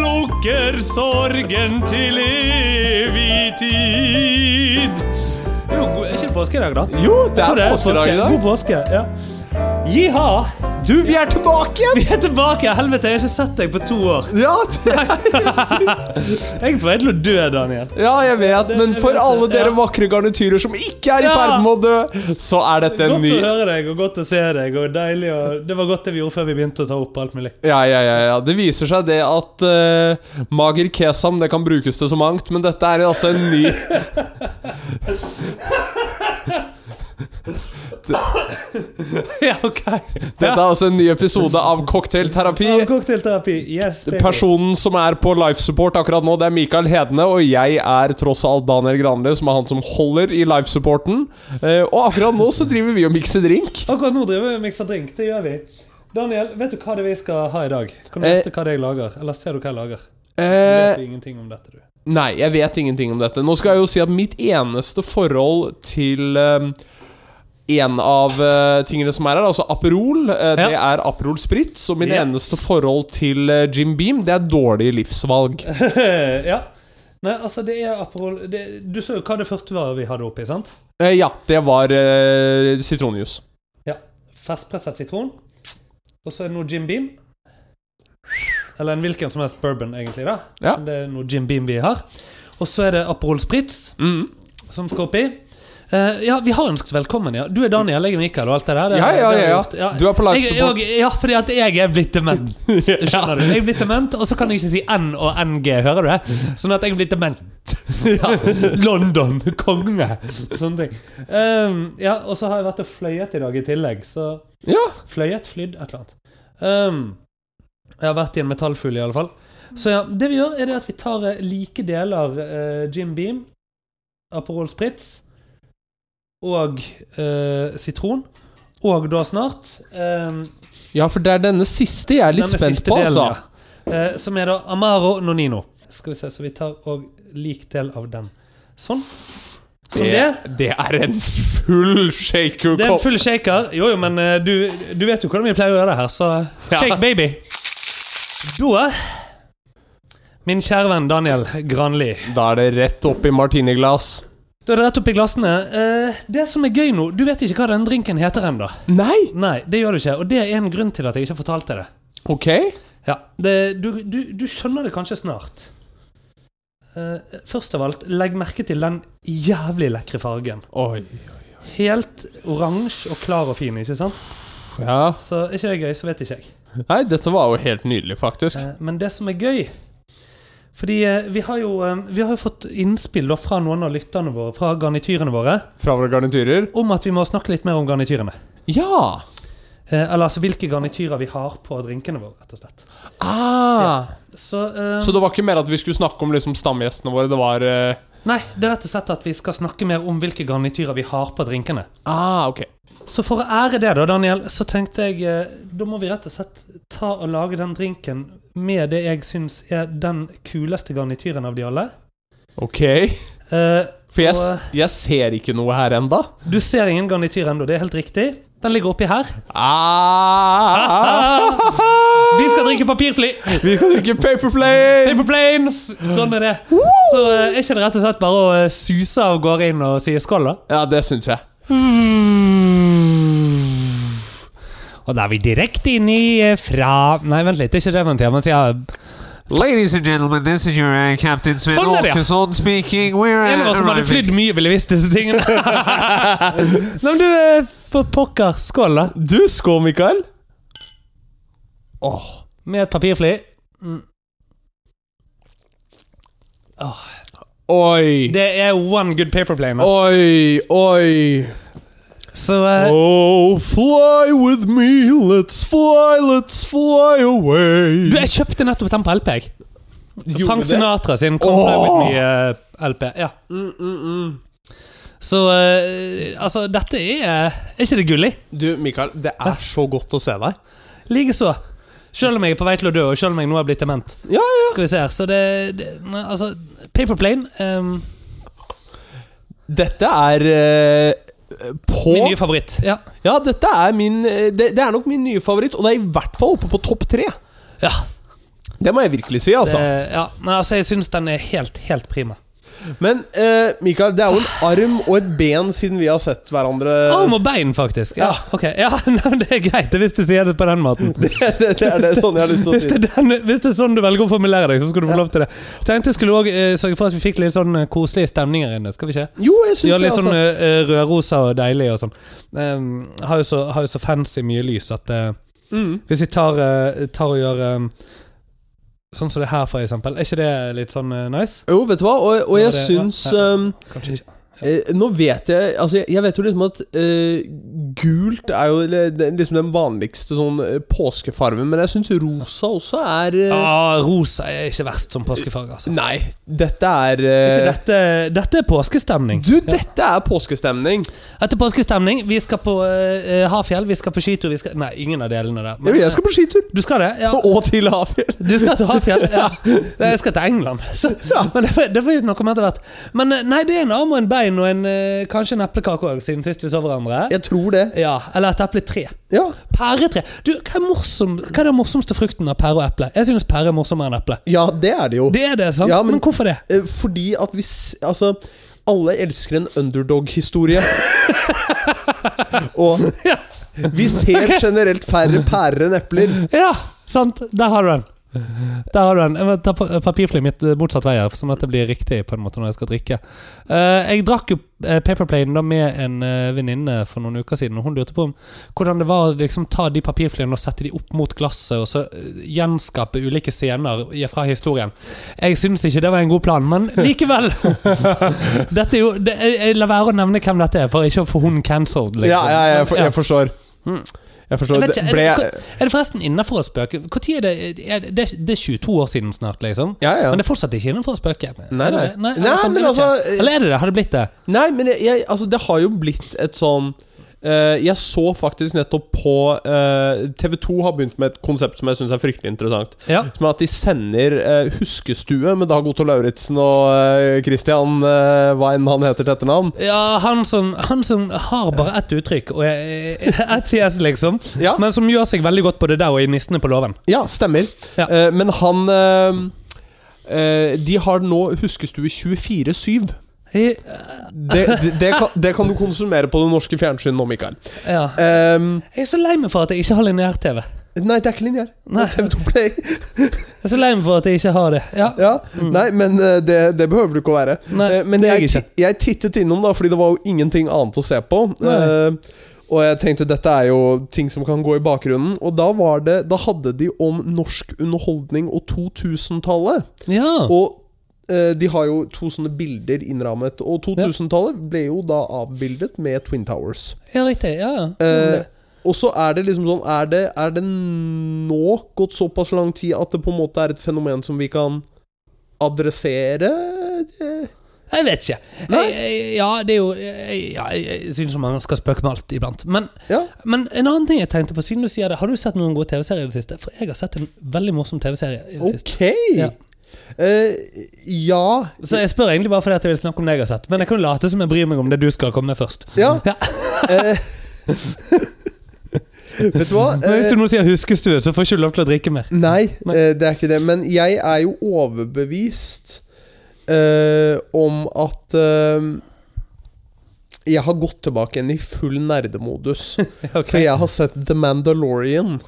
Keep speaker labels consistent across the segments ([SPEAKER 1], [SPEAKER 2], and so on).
[SPEAKER 1] dekker sorgen til evig tid. Jo, go- er ikke det påskedag, da?
[SPEAKER 2] Jo, det
[SPEAKER 1] Jeg tror
[SPEAKER 2] er påskedag i dag.
[SPEAKER 1] God påske. ja Jiha!
[SPEAKER 2] Du, vi er tilbake igjen!
[SPEAKER 1] Vi er tilbake! Helvete, jeg har ikke sett deg på to år.
[SPEAKER 2] Ja, det,
[SPEAKER 1] Jeg er på vei til å dø, Daniel.
[SPEAKER 2] ja, jeg vet, men for alle dere vakre garnityrer som ikke er i
[SPEAKER 1] Ja.
[SPEAKER 2] ferd med å dø, så er dette en
[SPEAKER 1] Godt
[SPEAKER 2] ny
[SPEAKER 1] å høre deg, og godt å se deg. Og deilig å... Det var godt det vi gjorde før vi begynte å ta opp alt mulig.
[SPEAKER 2] Ja, ja, ja, ja. Det viser seg det at eh, mager kesam det kan brukes til så mangt, men dette er altså en ny
[SPEAKER 1] Ja, ok.
[SPEAKER 2] Dette er altså en ny episode av Cocktailterapi.
[SPEAKER 1] Ja, Cocktailterapi. Yes, baby.
[SPEAKER 2] Personen som er på life support akkurat nå, det er Mikael Hedne, og jeg er tross alt Daniel Granli, som er han som holder i life supporten. Eh, og akkurat nå så driver vi og mikser drink.
[SPEAKER 1] Akkurat nå driver vi og mikser drink. Det gjør vi. Daniel, vet du hva det er vi skal ha i dag? Kan du
[SPEAKER 2] Eh.
[SPEAKER 1] vite hva det er jeg lager? Eller ser du hva jeg lager? Du
[SPEAKER 2] Eh,
[SPEAKER 1] vet jo ingenting om dette, du.
[SPEAKER 2] Nei, jeg vet ingenting om dette. Nå skal jeg jo si at mitt eneste forhold til eh, en av eh, tingene som er her, altså Aperol, eh, det er Aperol Spritz. Og min
[SPEAKER 1] Ja.
[SPEAKER 2] eneste forhold til eh, Jim Beam, det er dårlige livsvalg.
[SPEAKER 1] ja. Nei, altså, det er Aperol det, Du så jo hva det første var vi hadde oppi, sant?
[SPEAKER 2] Eh, ja, det var eh, sitronjuice.
[SPEAKER 1] Ja. Ferskpresset sitron. Og så er det noe Jim Beam. Eller en hvilken som helst bourbon, egentlig. da
[SPEAKER 2] Ja.
[SPEAKER 1] Men Det er noe Jim Beam vi har. Og så er det Aperol Spritz
[SPEAKER 2] Mm.
[SPEAKER 1] som skal oppi. Eh, ja, vi har ønsket velkommen, ja. Du er Daniel, jeg er Mikael og alt det der. Det-
[SPEAKER 2] Ja, ja,
[SPEAKER 1] det har vi
[SPEAKER 2] ja, ja.
[SPEAKER 1] gjort.
[SPEAKER 2] Du er på live
[SPEAKER 1] Jeg-
[SPEAKER 2] support.
[SPEAKER 1] jeg- Ja, fordi at jeg er blitt dement. Skjønner du? Jeg er blitt dement, og så kan jeg ikke si N og NG, hører du det? Sånn at jeg er blitt dement. Ja. London, konge. Sånne ting. Um, ja, og så har jeg vært og fløyet i dag i tillegg, så
[SPEAKER 2] Ja.
[SPEAKER 1] Fløyet, flydd, et eller annet. Um, jeg har vært i en metallfugl, i alle fall. Så ja, det vi gjør, er det at vi tar eh, like deler eh, Jim Beam, Aperol Spritz og eh, sitron. Og da snart um,
[SPEAKER 2] ja, for det er denne siste jeg er litt spent på, altså.
[SPEAKER 1] Eh, som er da Amaro Nonino. Skal vi se, Så vi tar òg lik del av den. Sånn. Som det.
[SPEAKER 2] det er en full
[SPEAKER 1] Det er en
[SPEAKER 2] shaker-kopp.
[SPEAKER 1] full shaker. Jo, jo, men eh, du, du vet jo hvordan vi pleier å gjøre det her, så eh, shake baby. Da Min kjære venn Daniel Granli.
[SPEAKER 2] Da er det rett oppi martiniglass.
[SPEAKER 1] Da er det rett oppi glassene. Eh, det som er gøy nå Du vet ikke hva den drinken heter ennå.
[SPEAKER 2] Nei!
[SPEAKER 1] Nei, det gjør du ikke. Og det er en grunn til at jeg ikke har fortalt deg det.
[SPEAKER 2] Ok.
[SPEAKER 1] Ja, det, du, du, du skjønner det kanskje snart. Eh, først av alt, legg merke til den jævlig lekre fargen.
[SPEAKER 2] Oi.
[SPEAKER 1] Helt oransje og klar og fin, ikke sant?
[SPEAKER 2] Ja.
[SPEAKER 1] Så er ikke det gøy, så vet ikke jeg.
[SPEAKER 2] Nei, dette var jo helt nydelig, faktisk.
[SPEAKER 1] Eh, Men det som er gøy Fordi eh, vi har jo, eh, vi har jo fått innspill da, fra noen av lytterne våre, fra garnityrene våre,
[SPEAKER 2] Fra våre garnityrer.
[SPEAKER 1] om at vi må snakke litt mer om garnityrene.
[SPEAKER 2] Ja!
[SPEAKER 1] Eh, Eller altså hvilke garnityrer vi har på drinkene våre, rett og slett.
[SPEAKER 2] Ah.
[SPEAKER 1] Så, eh,
[SPEAKER 2] Så det var ikke mer at vi skulle snakke om liksom, stamgjestene våre, det var eh,
[SPEAKER 1] Nei, det er rett og slett at vi skal snakke mer om hvilke garnityrer vi har på drinkene.
[SPEAKER 2] Ah, ok.
[SPEAKER 1] Så for å ære det, da, Daniel, så tenkte jeg eh, da må vi rett og slett ta og lage den drinken med det jeg syns er den kuleste garnityren av de alle.
[SPEAKER 2] Ok.
[SPEAKER 1] Eh,
[SPEAKER 2] For jeg,
[SPEAKER 1] Og,
[SPEAKER 2] s- jeg ser ikke noe her enda.
[SPEAKER 1] Du ser ingen garnityr ennå, det er helt riktig. Den ligger oppi her.
[SPEAKER 2] Ah.
[SPEAKER 1] Vi skal drikke papirfly!
[SPEAKER 2] Vi kan drikke paperplane!
[SPEAKER 1] Paper planes! Sånn er det. Så eh, er ikke det rett og slett bare å eh, suse av gårde inn og si skål, da?
[SPEAKER 2] Ja, det syns jeg.
[SPEAKER 1] Og da er vi direkte inn i eh, fra Nei, vent litt, det er ikke det man sier. Man sier
[SPEAKER 3] Ladies and gentlemen, this is your uh, Captain Sven
[SPEAKER 1] Sånn er det, ja.
[SPEAKER 3] Åkesson speaking. We're
[SPEAKER 1] En av
[SPEAKER 3] uh,
[SPEAKER 1] oss som hadde
[SPEAKER 3] arriving.
[SPEAKER 1] flydd mye, ville visst disse tingene. Nei, men du, eh, for pokker, skål, da.
[SPEAKER 2] Du, skål, Mikael. Åh.
[SPEAKER 1] Med et papirfly.
[SPEAKER 2] Oi.
[SPEAKER 1] Det er one good paper plane. ass.
[SPEAKER 2] Oi, oi.
[SPEAKER 1] Så eh,
[SPEAKER 2] Oh, fly with me, let's fly, let's fly away.
[SPEAKER 1] Du, jeg kjøpte nettopp den på LP, jeg.
[SPEAKER 2] Gjorde
[SPEAKER 1] Frank
[SPEAKER 2] det?
[SPEAKER 1] Sinatra sin Come Fly
[SPEAKER 2] Åh!
[SPEAKER 1] With Me eh, LP. Ja. mm, Så eh, Altså, dette er Er ikke det gullig?
[SPEAKER 2] Du, Mikael, det er så godt å se deg.
[SPEAKER 1] Likeså. Selv om jeg er på vei til å dø, og selv om jeg nå er blitt dement.
[SPEAKER 2] Ja, ja.
[SPEAKER 1] Skal vi se her, så det, det nei, Altså, Paper Plane ehm,
[SPEAKER 2] Dette er eh, på
[SPEAKER 1] Min nye favoritt. Ja.
[SPEAKER 2] Ja, dette er min eh, det, det er nok min nye favoritt, og det er i hvert fall oppe på topp tre.
[SPEAKER 1] ja.
[SPEAKER 2] Det må jeg virkelig si, altså.
[SPEAKER 1] Det, ja, men altså, jeg syns den er helt, helt prima.
[SPEAKER 2] Men eh, Mikael, det er jo en arm og et ben siden vi har sett hverandre
[SPEAKER 1] Arm og bein, faktisk. Ja,
[SPEAKER 2] Ja.
[SPEAKER 1] ok. Ja, nei, det er greit hvis du sier det på den måten.
[SPEAKER 2] det, det, det er det sånn jeg har lyst til å
[SPEAKER 1] Hvis
[SPEAKER 2] si.
[SPEAKER 1] det, er den, hvis det er sånn du velger å formulere deg, så skal du få lov til det. Jeg tenkte jeg skulle også, eh, sørge for at vi fikk litt sånn eh, koselig stemning her inne. Skal vi ikke?
[SPEAKER 2] Jo, jeg syns
[SPEAKER 1] Gjøre
[SPEAKER 2] det,
[SPEAKER 1] litt sånn
[SPEAKER 2] altså.
[SPEAKER 1] eh, rødrosa og deilig og sånn. Em, har, jo så, har jo så fancy mye lys at eh,
[SPEAKER 2] Mm.
[SPEAKER 1] Hvis jeg tar, eh, tar og gjør em, sånn som det her, for eksempel, er ikke det litt sånn eh, nice?
[SPEAKER 2] Jo, vet du hva, og, og jeg
[SPEAKER 1] Nå er det-
[SPEAKER 2] syns
[SPEAKER 1] ja.
[SPEAKER 2] ehm,
[SPEAKER 1] Kanskje ikke.
[SPEAKER 2] Eh, nå vet jeg Altså, jeg, jeg vet jo liksom at eh, gult er jo le- det- liksom den vanligste sånn eh, påskefarven, men jeg syns rosa også er eh,
[SPEAKER 1] Ja, Ah, rosa er ikke verst som påskefarge, altså.
[SPEAKER 2] Nei, dette er
[SPEAKER 1] Er
[SPEAKER 2] eh,
[SPEAKER 1] ikke dette, dette er påskestemning.
[SPEAKER 2] Du, dette er påskestemning!
[SPEAKER 1] Etter påskestemning, vi skal på eh, Hafjell, vi skal på skitur vi skal, Nei, ingen av delene der.
[SPEAKER 2] Jeg, jeg skal på skitur.
[SPEAKER 1] Du skal det? Ja.
[SPEAKER 2] Og til Havfjell.
[SPEAKER 1] Du skal til Hafjell? Ja. Nei, Jeg skal til England. Så, men det, får- det får vi noe om etter hvert. Men eh, nei, det er en arm og en bein og en, eh, kanskje en eplekake òg, siden sist vi så hverandre.
[SPEAKER 2] Jeg tror det.
[SPEAKER 1] Ja, Eller et eple-tre.
[SPEAKER 2] Ja.
[SPEAKER 1] Pæretre. Du, hva er, morsom, hva er den morsomste frukten av pære og eple? Jeg synes pære er morsommere enn eple.
[SPEAKER 2] ja, det er det jo.
[SPEAKER 1] Det er det, sant?
[SPEAKER 2] Ja, men-
[SPEAKER 1] men, hvorfor det?
[SPEAKER 2] Eh, fordi at hvis Altså, alle elsker en underdog-historie. Og
[SPEAKER 1] Ja.
[SPEAKER 2] vi ser generelt færre pærer enn epler.
[SPEAKER 1] ja, sant. Der har du den. Der har du den. Jeg må ta pa- papirflyet mitt eh, motsatt vei, her, sånn at det blir riktig på en måte når jeg skal drikke. Eh, jeg drakk jo eh, Paperplane da med en eh, venninne for noen uker siden, og hun lurte på om hvordan det var å liksom, ta de papirflyene og sette de opp mot glasset, og så eh, gjenskape ulike scener i- fra historien. Jeg syns ikke det var en god plan, men likevel! dette er jo, det, jeg, jeg lar være å nevne hvem dette er, for ikke å få hun cancelled. Liksom.
[SPEAKER 2] Ja, ja, jeg, for,
[SPEAKER 1] Ja.
[SPEAKER 2] jeg forstår. Jeg
[SPEAKER 1] Jeg
[SPEAKER 2] forstår.
[SPEAKER 1] vet
[SPEAKER 2] Det
[SPEAKER 1] ikke,
[SPEAKER 2] ble
[SPEAKER 1] er, det, er det forresten innenfor å spøke? Hvor tid er det? Er det, det er 22 år siden snart, liksom.
[SPEAKER 2] Ja, ja.
[SPEAKER 1] Men det er fortsatt ikke innenfor å spøke.
[SPEAKER 2] Nei,
[SPEAKER 1] Er det
[SPEAKER 2] nei.
[SPEAKER 1] det? nei, er det
[SPEAKER 2] Nei,
[SPEAKER 1] sånn?
[SPEAKER 2] men
[SPEAKER 1] Jeg vet
[SPEAKER 2] altså,
[SPEAKER 1] ikke. Eller er det det? Har det blitt det?
[SPEAKER 2] Nei, men jeg, jeg, altså, det har jo blitt et sånn eh, Jeg så faktisk nettopp på eh, TV2 har begynt med et konsept som jeg syns er fryktelig interessant.
[SPEAKER 1] Ja.
[SPEAKER 2] Som er at de sender eh, Huskestue med Dag Otto Lauritzen og eh, Christian eh, Hva enn han heter til etternavn.
[SPEAKER 1] han, som, han som har bare ett uttrykk og er- er- ett fjes, liksom.
[SPEAKER 2] Ja.
[SPEAKER 1] Men som gjør seg veldig godt på det der og i 'Nissene på låven'.
[SPEAKER 2] Ja, stemmer.
[SPEAKER 1] Ja.
[SPEAKER 2] Eh, men han eh, eh, De har nå Huskestue 24-7.
[SPEAKER 1] I-
[SPEAKER 2] Det, det, det, kan, det kan du konsumere på det norske fjernsynet nå, Mikael.
[SPEAKER 1] Ja.
[SPEAKER 2] Um,
[SPEAKER 1] Jeg er så lei meg for at jeg ikke har lineær-TV.
[SPEAKER 2] Nei, det er ikke linjær.
[SPEAKER 1] Nei.
[SPEAKER 2] Det er TV2 Play.
[SPEAKER 1] Jeg er så lei meg for at jeg ikke har det. Ja.
[SPEAKER 2] Ja. Nei, men eh, det, det behøver du ikke å være.
[SPEAKER 1] Mm. Nei,
[SPEAKER 2] Eh, men
[SPEAKER 1] det gjør
[SPEAKER 2] jeg,
[SPEAKER 1] jeg
[SPEAKER 2] ti- jeg tittet innom, da, fordi det var jo ingenting annet å se på.
[SPEAKER 1] Nei.
[SPEAKER 2] Eh, og jeg tenkte dette er jo ting som kan gå i bakgrunnen. Og da var det Da hadde de om norsk underholdning og 2000-tallet.
[SPEAKER 1] ja.
[SPEAKER 2] Og eh, de har jo to sånne bilder innrammet. Og 2000-tallet ble jo da avbildet med Twin Towers.
[SPEAKER 1] Ja, riktig. Ja, ja.
[SPEAKER 2] Eh, og så er det liksom sånn er det, er det nå gått såpass lang tid at det på en måte er et fenomen som vi kan adressere? Eh,
[SPEAKER 1] Jeg vet ikke.
[SPEAKER 2] Nei?
[SPEAKER 1] Jeg, jeg, ja, det er jo Jeg, ja, jeg, jeg syns jo man skal spøke med alt iblant. Men,
[SPEAKER 2] Ja.
[SPEAKER 1] men en annen ting jeg tenkte på, siden du sier det, har du sett noen gode TV-serier i det siste? For jeg har sett en veldig morsom TV-serie i det siste.
[SPEAKER 2] Ok!
[SPEAKER 1] Ja.
[SPEAKER 2] Eh, ja.
[SPEAKER 1] Så jeg spør egentlig bare fordi at jeg vil snakke om det jeg har sett. Men jeg kan jo late som jeg bryr meg om det du skal komme med først.
[SPEAKER 2] ja.
[SPEAKER 1] Ja.
[SPEAKER 2] eh, vet du hva?
[SPEAKER 1] Men hvis
[SPEAKER 2] Eh,
[SPEAKER 1] du nå sier huskestue, så får ikke du lov til å drikke mer.
[SPEAKER 2] Nei,
[SPEAKER 1] Nei.
[SPEAKER 2] eh, det er ikke det. Men jeg er jo overbevist eh, om at eh, jeg har gått tilbake igjen i full nerdemodus. For jeg har sett The Mandalorian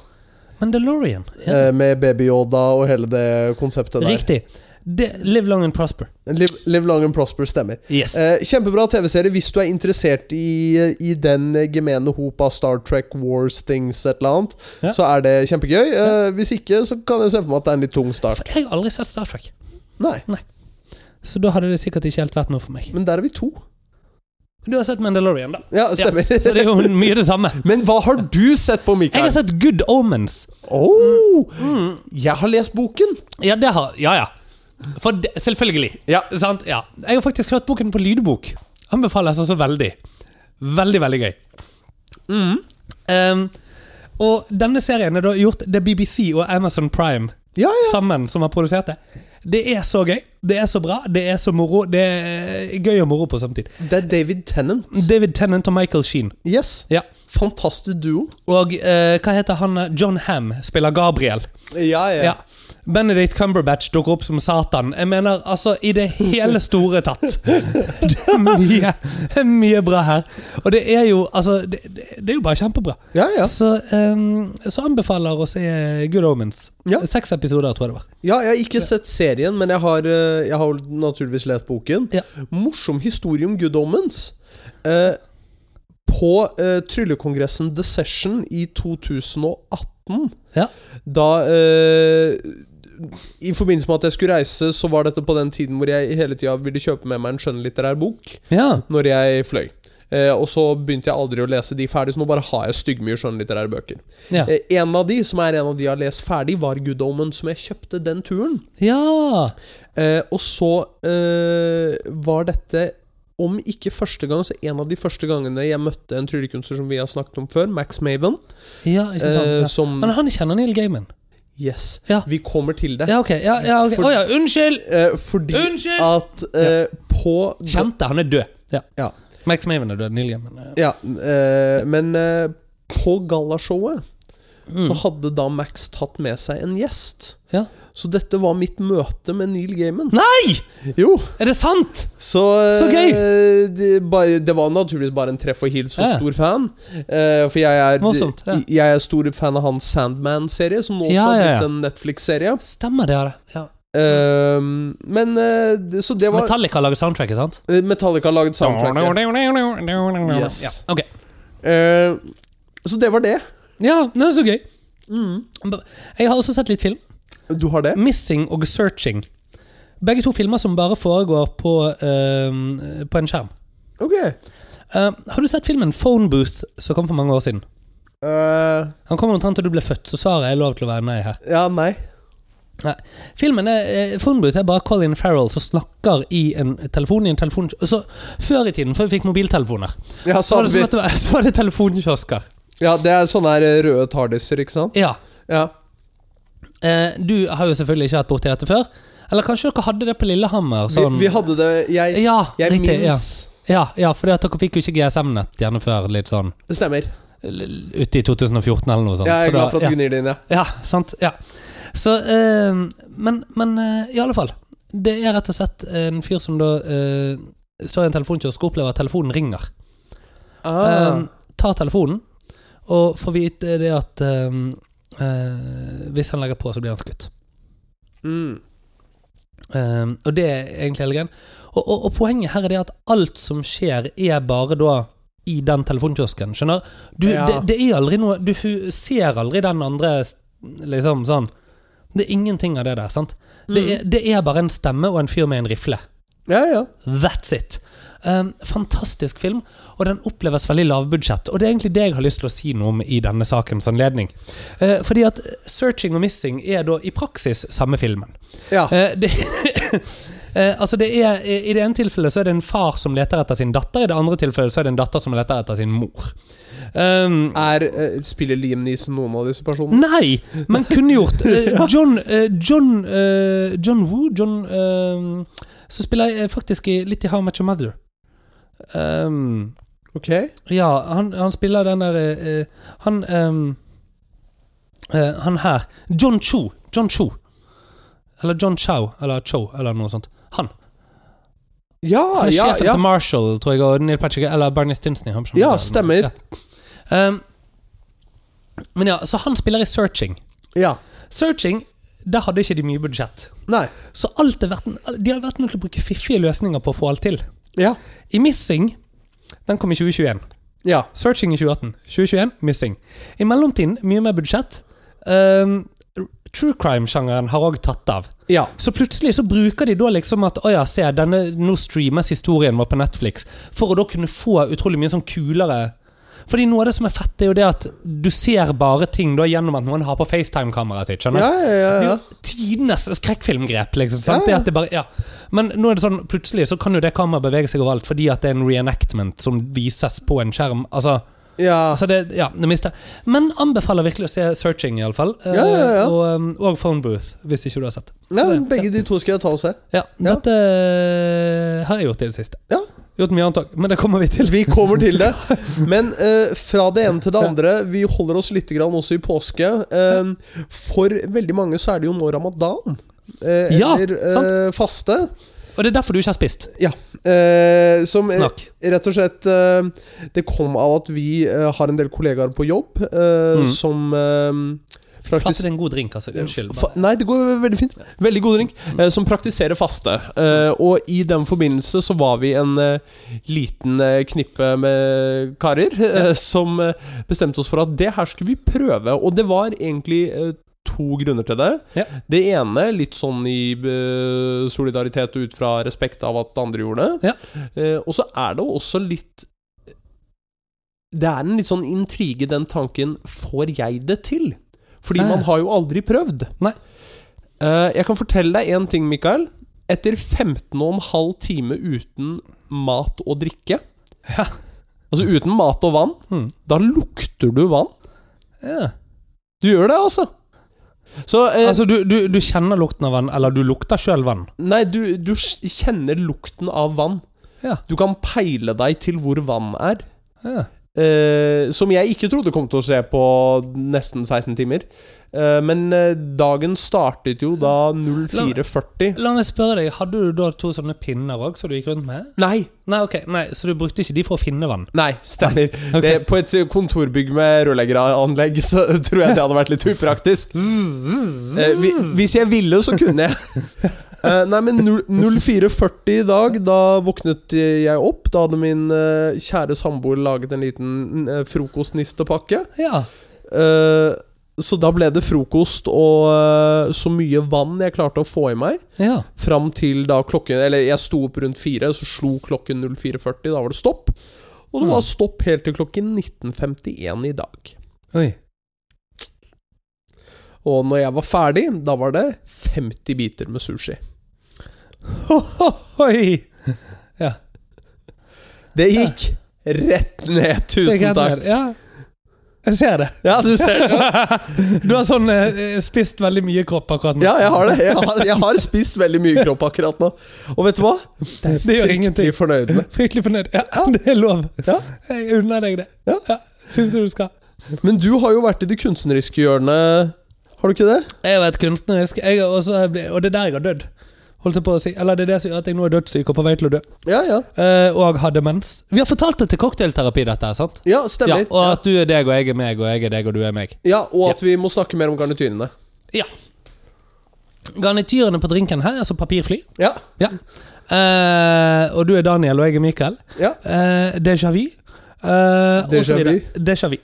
[SPEAKER 1] Mandalorian. Ja.
[SPEAKER 2] eh, med Baby Yoda og hele det konseptet der.
[SPEAKER 1] Riktig. Det, live long and prosper.
[SPEAKER 2] Live, live long and prosper stemmer.
[SPEAKER 1] Yes.
[SPEAKER 2] Eh, kjempebra TV-serie hvis du er interessert i, i den gemene hop av Star Trek, Wars, things, et eller annet.
[SPEAKER 1] Ja.
[SPEAKER 2] Så er det kjempegøy. Eh, hvis ikke, så kan jeg se for meg at det er en litt tung start.
[SPEAKER 1] For jeg har aldri sett Star Trek,
[SPEAKER 2] Nei,
[SPEAKER 1] så da hadde det sikkert ikke helt vært noe for meg.
[SPEAKER 2] men der er vi to.
[SPEAKER 1] Du har sett Mandalorian, da.
[SPEAKER 2] Ja, stemmer.
[SPEAKER 1] Så det er jo mye det samme.
[SPEAKER 2] men hva har du sett på,
[SPEAKER 1] Jeg
[SPEAKER 2] Mikael?
[SPEAKER 1] har Mm. sett Good Omens.
[SPEAKER 2] Oh, jeg har lest boken.
[SPEAKER 1] Ja, det har Ja, ja. For det, selvfølgelig.
[SPEAKER 2] Ja.
[SPEAKER 1] Sant? Ja. Jeg har faktisk hørt boken på lydbok. Anbefales også veldig. Veldig, veldig gøy. Mm. Um, og denne serien er da gjort Det er BBC og Amazon Prime
[SPEAKER 2] Ja, ja.
[SPEAKER 1] sammen som har produsert det. Det er så gøy. Det er så bra. Det er så moro. Det er gøy og moro på samme tid.
[SPEAKER 2] Det er David Tennant.
[SPEAKER 1] David Tennant og Michael Sheen.
[SPEAKER 2] Yes.
[SPEAKER 1] Ja.
[SPEAKER 2] Fantastisk duo.
[SPEAKER 1] Og eh, hva heter han John Ham spiller Gabriel.
[SPEAKER 2] Ja, ja.
[SPEAKER 1] Ja. Benedict Cumberbatch dukker opp som Satan. Jeg mener, altså, i det hele store tatt. Det er mye, mye bra her. Og det er jo altså Det, det det er jo bare kjempebra.
[SPEAKER 2] ja, ja.
[SPEAKER 1] Så, ehm, så anbefaler å se Good Omens.
[SPEAKER 2] Ja.
[SPEAKER 1] Seks episoder, tror jeg det var.
[SPEAKER 2] Ja, jeg har ikke sett serien, men jeg har, eh, jeg har naturligvis lest boken.
[SPEAKER 1] Ja.
[SPEAKER 2] Morsom historie om Good Omens. Eh, på eh, tryllekongressen The Session i 2018,
[SPEAKER 1] Ja.
[SPEAKER 2] da eh, I forbindelse med at jeg skulle reise, så var dette på den tiden hvor jeg hele tida ville kjøpe med meg en skjønnlitterær bok
[SPEAKER 1] Ja.
[SPEAKER 2] når jeg fløy. Eh, og så begynte jeg aldri å lese de ferdig, så nå bare har jeg styggmye skjønnlitterære bøker.
[SPEAKER 1] Ja.
[SPEAKER 2] Eh, en av de som er en av de jeg har lest ferdig, var Good Omen, som jeg kjøpte den turen.
[SPEAKER 1] ja.
[SPEAKER 2] Eh, og så eh, var dette, om ikke første gang, så en av de første gangene jeg møtte en tryllekunstner som vi har snakket om før, Max Maven.
[SPEAKER 1] Ja, ikke sant?
[SPEAKER 2] eh,
[SPEAKER 1] Ja.
[SPEAKER 2] Som
[SPEAKER 1] Men han kjenner Neil Gaiman.
[SPEAKER 2] Yes,
[SPEAKER 1] Ja.
[SPEAKER 2] vi kommer til det.
[SPEAKER 1] Ja, ok. Ja, ja, ok.
[SPEAKER 2] For-
[SPEAKER 1] Å ja, unnskyld!
[SPEAKER 2] Eh, fordi
[SPEAKER 1] Unnskyld!
[SPEAKER 2] at eh, på
[SPEAKER 1] Kjente, han er død. Ja.
[SPEAKER 2] Ja.
[SPEAKER 1] Max Maven er død. Neil Gaiman er
[SPEAKER 2] Ja, eh, men eh, på gallashowet så hadde da Max tatt med seg en gjest.
[SPEAKER 1] Mm. ja.
[SPEAKER 2] Så dette var mitt møte med Neil Gaiman.
[SPEAKER 1] Nei!
[SPEAKER 2] Jo,
[SPEAKER 1] Er det sant?!
[SPEAKER 2] så,
[SPEAKER 1] Så gøy!
[SPEAKER 2] eh, Det, bare, det var naturligvis bare en treff og hils og
[SPEAKER 1] Ja.
[SPEAKER 2] stor fan. Eh, for jeg er,
[SPEAKER 1] Morsomt, ja.
[SPEAKER 2] jeg er stor fan av hans Sandman-serie, som nå også
[SPEAKER 1] Ja,
[SPEAKER 2] har
[SPEAKER 1] ja,
[SPEAKER 2] blitt
[SPEAKER 1] ja.
[SPEAKER 2] en Netflix-serie.
[SPEAKER 1] Stemmer det, ja. det. ja.
[SPEAKER 2] Eh, men eh, det- Så det var
[SPEAKER 1] Metallica lager soundtracket, sant?
[SPEAKER 2] Metallica har laget soundtracket.
[SPEAKER 1] Yes.
[SPEAKER 2] Yes.
[SPEAKER 1] Ja, ok.
[SPEAKER 2] Eh, så det var det.
[SPEAKER 1] ja det er så gøy. Mm. Jeg har også sett litt film.
[SPEAKER 2] Du har
[SPEAKER 1] Mm.
[SPEAKER 2] det?
[SPEAKER 1] 'Missing' og 'Searching'. Begge to filmer som bare foregår på, eh, på en skjerm.
[SPEAKER 2] Ok.
[SPEAKER 1] Eh, har du sett filmen 'Phone Booth', som kom for mange år siden?
[SPEAKER 2] Eh,
[SPEAKER 1] Han kom omtrent da du ble født, så svaret er lov til å være nei her.
[SPEAKER 2] ja, nei.
[SPEAKER 1] Filmen er, eh, Phone Booth er bare Colin Farrell som snakker i en telefon i en telefon... Så, før i tiden, før vi fikk mobiltelefoner,
[SPEAKER 2] Ja,
[SPEAKER 1] så
[SPEAKER 2] så
[SPEAKER 1] var det, sånn
[SPEAKER 2] hadde vi,
[SPEAKER 1] at det, var, så var det telefonkiosker.
[SPEAKER 2] ja, det er sånne her eh, røde tardiser, ikke sant?
[SPEAKER 1] Ja.
[SPEAKER 2] Ja.
[SPEAKER 1] Eh, du har jo selvfølgelig ikke vært borti dette før. Eller kanskje dere hadde det på Lillehammer?
[SPEAKER 2] Vi,
[SPEAKER 1] Sånn.
[SPEAKER 2] vi hadde det Jeg,
[SPEAKER 1] ja,
[SPEAKER 2] jeg
[SPEAKER 1] riktig, ja.
[SPEAKER 2] minnes
[SPEAKER 1] Ja, ja for dere fikk jo ikke GSM-nett gjerne før litt sånn
[SPEAKER 2] Det stemmer.
[SPEAKER 1] l- ute i 2014 eller noe sånt.
[SPEAKER 2] Jeg
[SPEAKER 1] Så
[SPEAKER 2] er glad for at
[SPEAKER 1] da,
[SPEAKER 2] du gnir det inn, ja.
[SPEAKER 1] ja, ja, sant. Ja. Så eh, Men, men eh, i alle fall. Det er rett og slett en fyr som da eh, står i en telefonkiosk og opplever at telefonen ringer.
[SPEAKER 2] Ah,
[SPEAKER 1] Eh, tar telefonen og får vite det at eh, eh, hvis han legger på, så blir han skutt.
[SPEAKER 2] mm.
[SPEAKER 1] Um, og det er egentlig hele greien. Og, og, og poenget her er det at alt som skjer, er bare da i den telefonkiosken. Skjønner? Du,
[SPEAKER 2] Ja.
[SPEAKER 1] det, det er aldri noe Du hu- ser aldri den andre s- liksom sånn. Det er ingenting av det der. sant? Det, er, det er bare en stemme og en fyr med en rifle.
[SPEAKER 2] Ja, ja.
[SPEAKER 1] That's it. Um, fantastisk film, og den oppleves veldig lavbudsjett. Og det er egentlig det jeg har lyst til å si noe om i denne sakens anledning. Eh, fordi at 'Searching og Missing' er da i praksis samme filmen.
[SPEAKER 2] ja.
[SPEAKER 1] Eh, det, eh, altså det er, I det ene tilfellet så er det en far som leter etter sin datter, i det andre tilfellet så er det en datter som leter etter sin mor. Um,
[SPEAKER 2] Er, eh, spiller Liam Neeson noen av disse personene?
[SPEAKER 1] nei, men kunne gjort. Eh, John eh, John, eh, John Woo John, eh, Så spiller jeg eh, faktisk i, litt i How Much Your Mother. Um,
[SPEAKER 2] Ok.
[SPEAKER 1] ja, han, han spiller den der eh, eh, Han ehm, eh, Han her. John Cho. John Cho. Eller John Chow, eller Cho, eller noe sånt. Han.
[SPEAKER 2] Ja,
[SPEAKER 1] Han er
[SPEAKER 2] Ah, ja,
[SPEAKER 1] sjefen
[SPEAKER 2] ja.
[SPEAKER 1] til Marshall, tror jeg, og Neil Patrick Eller Barney Stinson. i Hampshire.
[SPEAKER 2] Ja, stemmer.
[SPEAKER 1] Ja. Um, men ja, så han spiller i Searching.
[SPEAKER 2] Ja.
[SPEAKER 1] Searching, der hadde ikke de mye budsjett.
[SPEAKER 2] Nei.
[SPEAKER 1] Så alt er verdt, de har vært nødt til å bruke fiffige løsninger på å få alt til.
[SPEAKER 2] Ja.
[SPEAKER 1] I Missing Den kom i 2021.
[SPEAKER 2] Ja.
[SPEAKER 1] Searching i 2018. 2021 Missing. I mellomtiden mye mer budsjett. Um, True crime-sjangeren har òg tatt av.
[SPEAKER 2] Ja.
[SPEAKER 1] Så plutselig så bruker de da liksom at Å ja, se, denne, nå streames historien vår på Netflix. For å da kunne få utrolig mye sånn kulere Fordi noe av det som er fett, er jo det at du ser bare ting da gjennom at noen har på FaceTime-kameraet sitt.
[SPEAKER 2] Ja,
[SPEAKER 1] skjønner du?
[SPEAKER 2] ja, ja,
[SPEAKER 1] Det er
[SPEAKER 2] ja.
[SPEAKER 1] jo tidenes skrekkfilmgrep. liksom, sant?
[SPEAKER 2] Ja,
[SPEAKER 1] Det
[SPEAKER 2] ja.
[SPEAKER 1] at det bare, ja. Men nå er det sånn, plutselig så kan jo det kameraet bevege seg overalt fordi at det er en reenactment som vises på en skjerm. altså
[SPEAKER 2] Ja.
[SPEAKER 1] Så det, ja, det mister. Men anbefaler virkelig å se Searching, iallfall.
[SPEAKER 2] Ja, ja, ja.
[SPEAKER 1] Og, um, og Phone Booth, hvis ikke du har sett. Så
[SPEAKER 2] Nei,
[SPEAKER 1] det-
[SPEAKER 2] men begge de to skal jeg ta og se.
[SPEAKER 1] ja.
[SPEAKER 2] ja.
[SPEAKER 1] Ja, dette eh, har jeg gjort i det siste.
[SPEAKER 2] Ja.
[SPEAKER 1] Gjort mye annet òg, men det kommer vi til.
[SPEAKER 2] Vi kommer til det. Men eh, fra det ene til det andre, vi holder oss litt grann også i påske. Eh, for veldig mange så er det jo nå ramadan. eh,
[SPEAKER 1] Ja,
[SPEAKER 2] eller eh,
[SPEAKER 1] sant.
[SPEAKER 2] faste.
[SPEAKER 1] Og det er derfor du ikke har spist.
[SPEAKER 2] Eh, som eh,
[SPEAKER 1] Snakk.
[SPEAKER 2] rett og slett eh, Det kom av at vi eh, har en del kollegaer på jobb eh,
[SPEAKER 1] Mm.
[SPEAKER 2] som eh,
[SPEAKER 1] Flate
[SPEAKER 2] praktiserer
[SPEAKER 1] det er en god drink, altså. Unnskyld.
[SPEAKER 2] Fa nei, det går veldig fint. Veldig god drink.
[SPEAKER 1] Mm.
[SPEAKER 2] Eh, som praktiserer faste. Eh, og i den forbindelse så var vi en eh, liten eh, knippe med karer eh, som eh, bestemte oss for at det her skulle vi prøve. Og det var egentlig eh, to grunner til det.
[SPEAKER 1] Ja.
[SPEAKER 2] Det ene litt sånn i eh, solidaritet og ut fra respekt av at andre gjorde det.
[SPEAKER 1] Ja.
[SPEAKER 2] Eh, og så er det også litt Det er en litt sånn intrige, den tanken Får jeg det til? Fordi
[SPEAKER 1] Eh.
[SPEAKER 2] man har jo aldri prøvd.
[SPEAKER 1] Nei.
[SPEAKER 2] Eh, jeg kan fortelle deg én ting, Mikael. Etter 15 og en halv time uten mat og drikke
[SPEAKER 1] Ja.
[SPEAKER 2] Altså uten mat og vann,
[SPEAKER 1] Mm.
[SPEAKER 2] da lukter du vann.
[SPEAKER 1] Ja.
[SPEAKER 2] Du gjør det, altså. Så eh,
[SPEAKER 1] Altså, du, du, du kjenner lukten av vann, eller du lukter sjøl vann.
[SPEAKER 2] Nei, du, du s- kjenner lukten av vann.
[SPEAKER 1] Ja.
[SPEAKER 2] Du kan peile deg til hvor vann er.
[SPEAKER 1] Ja.
[SPEAKER 2] Eh, som jeg ikke trodde kom til å skje på nesten 16 timer. Eh, men eh, dagen startet jo da 04.40.
[SPEAKER 1] La meg spørre deg, hadde du da to sånne pinner òg, som du gikk rundt med?
[SPEAKER 2] Nei,
[SPEAKER 1] Nei, ok, nei, så du brukte ikke de for å finne vann?
[SPEAKER 2] Nei, stemmer.
[SPEAKER 1] Ok.
[SPEAKER 2] Det, på et kontorbygg med rørleggeranlegg så tror jeg det hadde vært litt upraktisk. Eh, vi, hvis jeg ville, så kunne jeg. Eh, nei, men null- 04.40 i dag, da våknet jeg opp. Da hadde min eh, kjære samboer laget en liten eh, frokostnistepakke.
[SPEAKER 1] Ja.
[SPEAKER 2] Eh, så da ble det frokost og eh, så mye vann jeg klarte å få i meg.
[SPEAKER 1] ja.
[SPEAKER 2] Fram til da klokken Eller jeg sto opp rundt fire, så slo klokken 04.40. Da var det stopp. Og det
[SPEAKER 1] Mm.
[SPEAKER 2] var stopp helt til klokken 19.51 i dag.
[SPEAKER 1] Oi.
[SPEAKER 2] Og når jeg var ferdig, da var det 50 biter med sushi.
[SPEAKER 1] Ho, ho, hoi.
[SPEAKER 2] Det gikk rett ned.
[SPEAKER 1] Det er
[SPEAKER 2] Tusen
[SPEAKER 1] greit med
[SPEAKER 2] takk.
[SPEAKER 1] det. Ja. Jeg ser det.
[SPEAKER 2] Ja, du ser det.
[SPEAKER 1] du har sånn eh, spist veldig mye kropp akkurat nå.
[SPEAKER 2] Ja, jeg har det. Jeg har, jeg har spist veldig mye kropp akkurat nå. Og vet du hva? Det
[SPEAKER 1] Det gjør ingenting.
[SPEAKER 2] Jeg er fornøyd med.
[SPEAKER 1] Fryktelig fornøyd. Ja, det er lov.
[SPEAKER 2] Ja.
[SPEAKER 1] Jeg unner deg det.
[SPEAKER 2] Ja.
[SPEAKER 1] Syns du du skal.
[SPEAKER 2] Men du har jo vært i det kunstneriske hjørnet. Har du ikke det?
[SPEAKER 1] Jeg har vært kunstnerisk, jeg har også, og det er der jeg har dødd. Holdt jeg på å si. Eller det er det som gjør at jeg nå er dødssyk og på vei til å dø.
[SPEAKER 2] Ja, ja.
[SPEAKER 1] Eh, og har demens. Vi har fortalt det til cocktailterapi, dette her, sant?
[SPEAKER 2] Ja,
[SPEAKER 1] Ja,
[SPEAKER 2] stemmer.
[SPEAKER 1] og at du er deg, og jeg er meg, og jeg er deg, og du er meg.
[SPEAKER 2] Ja, og at vi må snakke mer om garnityrene.
[SPEAKER 1] Ja. Garnityrene på drinken her, altså papirfly.
[SPEAKER 2] Ja,
[SPEAKER 1] Ja. Eh, og du er Daniel, og jeg er Mikael.
[SPEAKER 2] ja.
[SPEAKER 1] Eh, déjà vu. Eh,
[SPEAKER 2] Déjà
[SPEAKER 1] og så videre.
[SPEAKER 2] vu.
[SPEAKER 1] Déjà vu.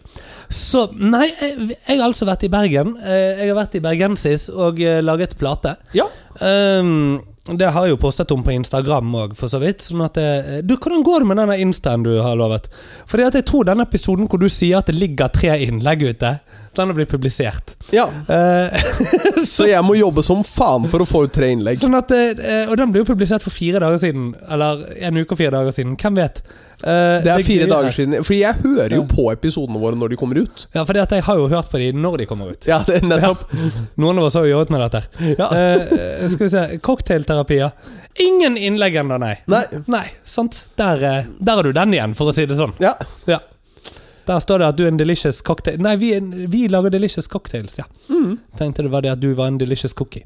[SPEAKER 1] Så Nei, jeg, jeg har altså vært i Bergen. Eh, jeg har vært i Bergensis og eh, laget plate.
[SPEAKER 2] Ja.
[SPEAKER 1] Ehm, det har jeg jo postet om på Instagram òg, for så vidt. Sånn at det, du, Hvordan går det med denne instaen du har lovet? Fordi at jeg tror denne episoden hvor du sier at det ligger tre innlegg ute, den har blitt publisert.
[SPEAKER 2] ja.
[SPEAKER 1] Eh,
[SPEAKER 2] Så jeg må jobbe som faen for å få ut tre innlegg.
[SPEAKER 1] Sånn at, eh, og den ble jo publisert for fire dager siden. Eller en uke og fire dager siden. Hvem vet? Eh,
[SPEAKER 2] Det er fire dager siden. Fordi jeg hører jo
[SPEAKER 1] Ja.
[SPEAKER 2] på episodene våre når de kommer ut.
[SPEAKER 1] Ja, for jeg har jo hørt på de når de kommer ut.
[SPEAKER 2] Ja, det er nettopp.
[SPEAKER 1] Noen av oss har jo jobbet med dette. her.
[SPEAKER 2] Ja.
[SPEAKER 1] Eh, skal vi se Cocktailterapier. Ingen innlegg ennå, nei.
[SPEAKER 2] Nei.
[SPEAKER 1] Nei, sant. Der, eh, der har du den igjen, for å si det sånn.
[SPEAKER 2] Ja.
[SPEAKER 1] Ja. Der står det at du er en delicious cocktail Nei, vi, er en- vi lager delicious cocktails, ja.
[SPEAKER 2] Mm.
[SPEAKER 1] Tenkte det var det at du var en delicious cookie.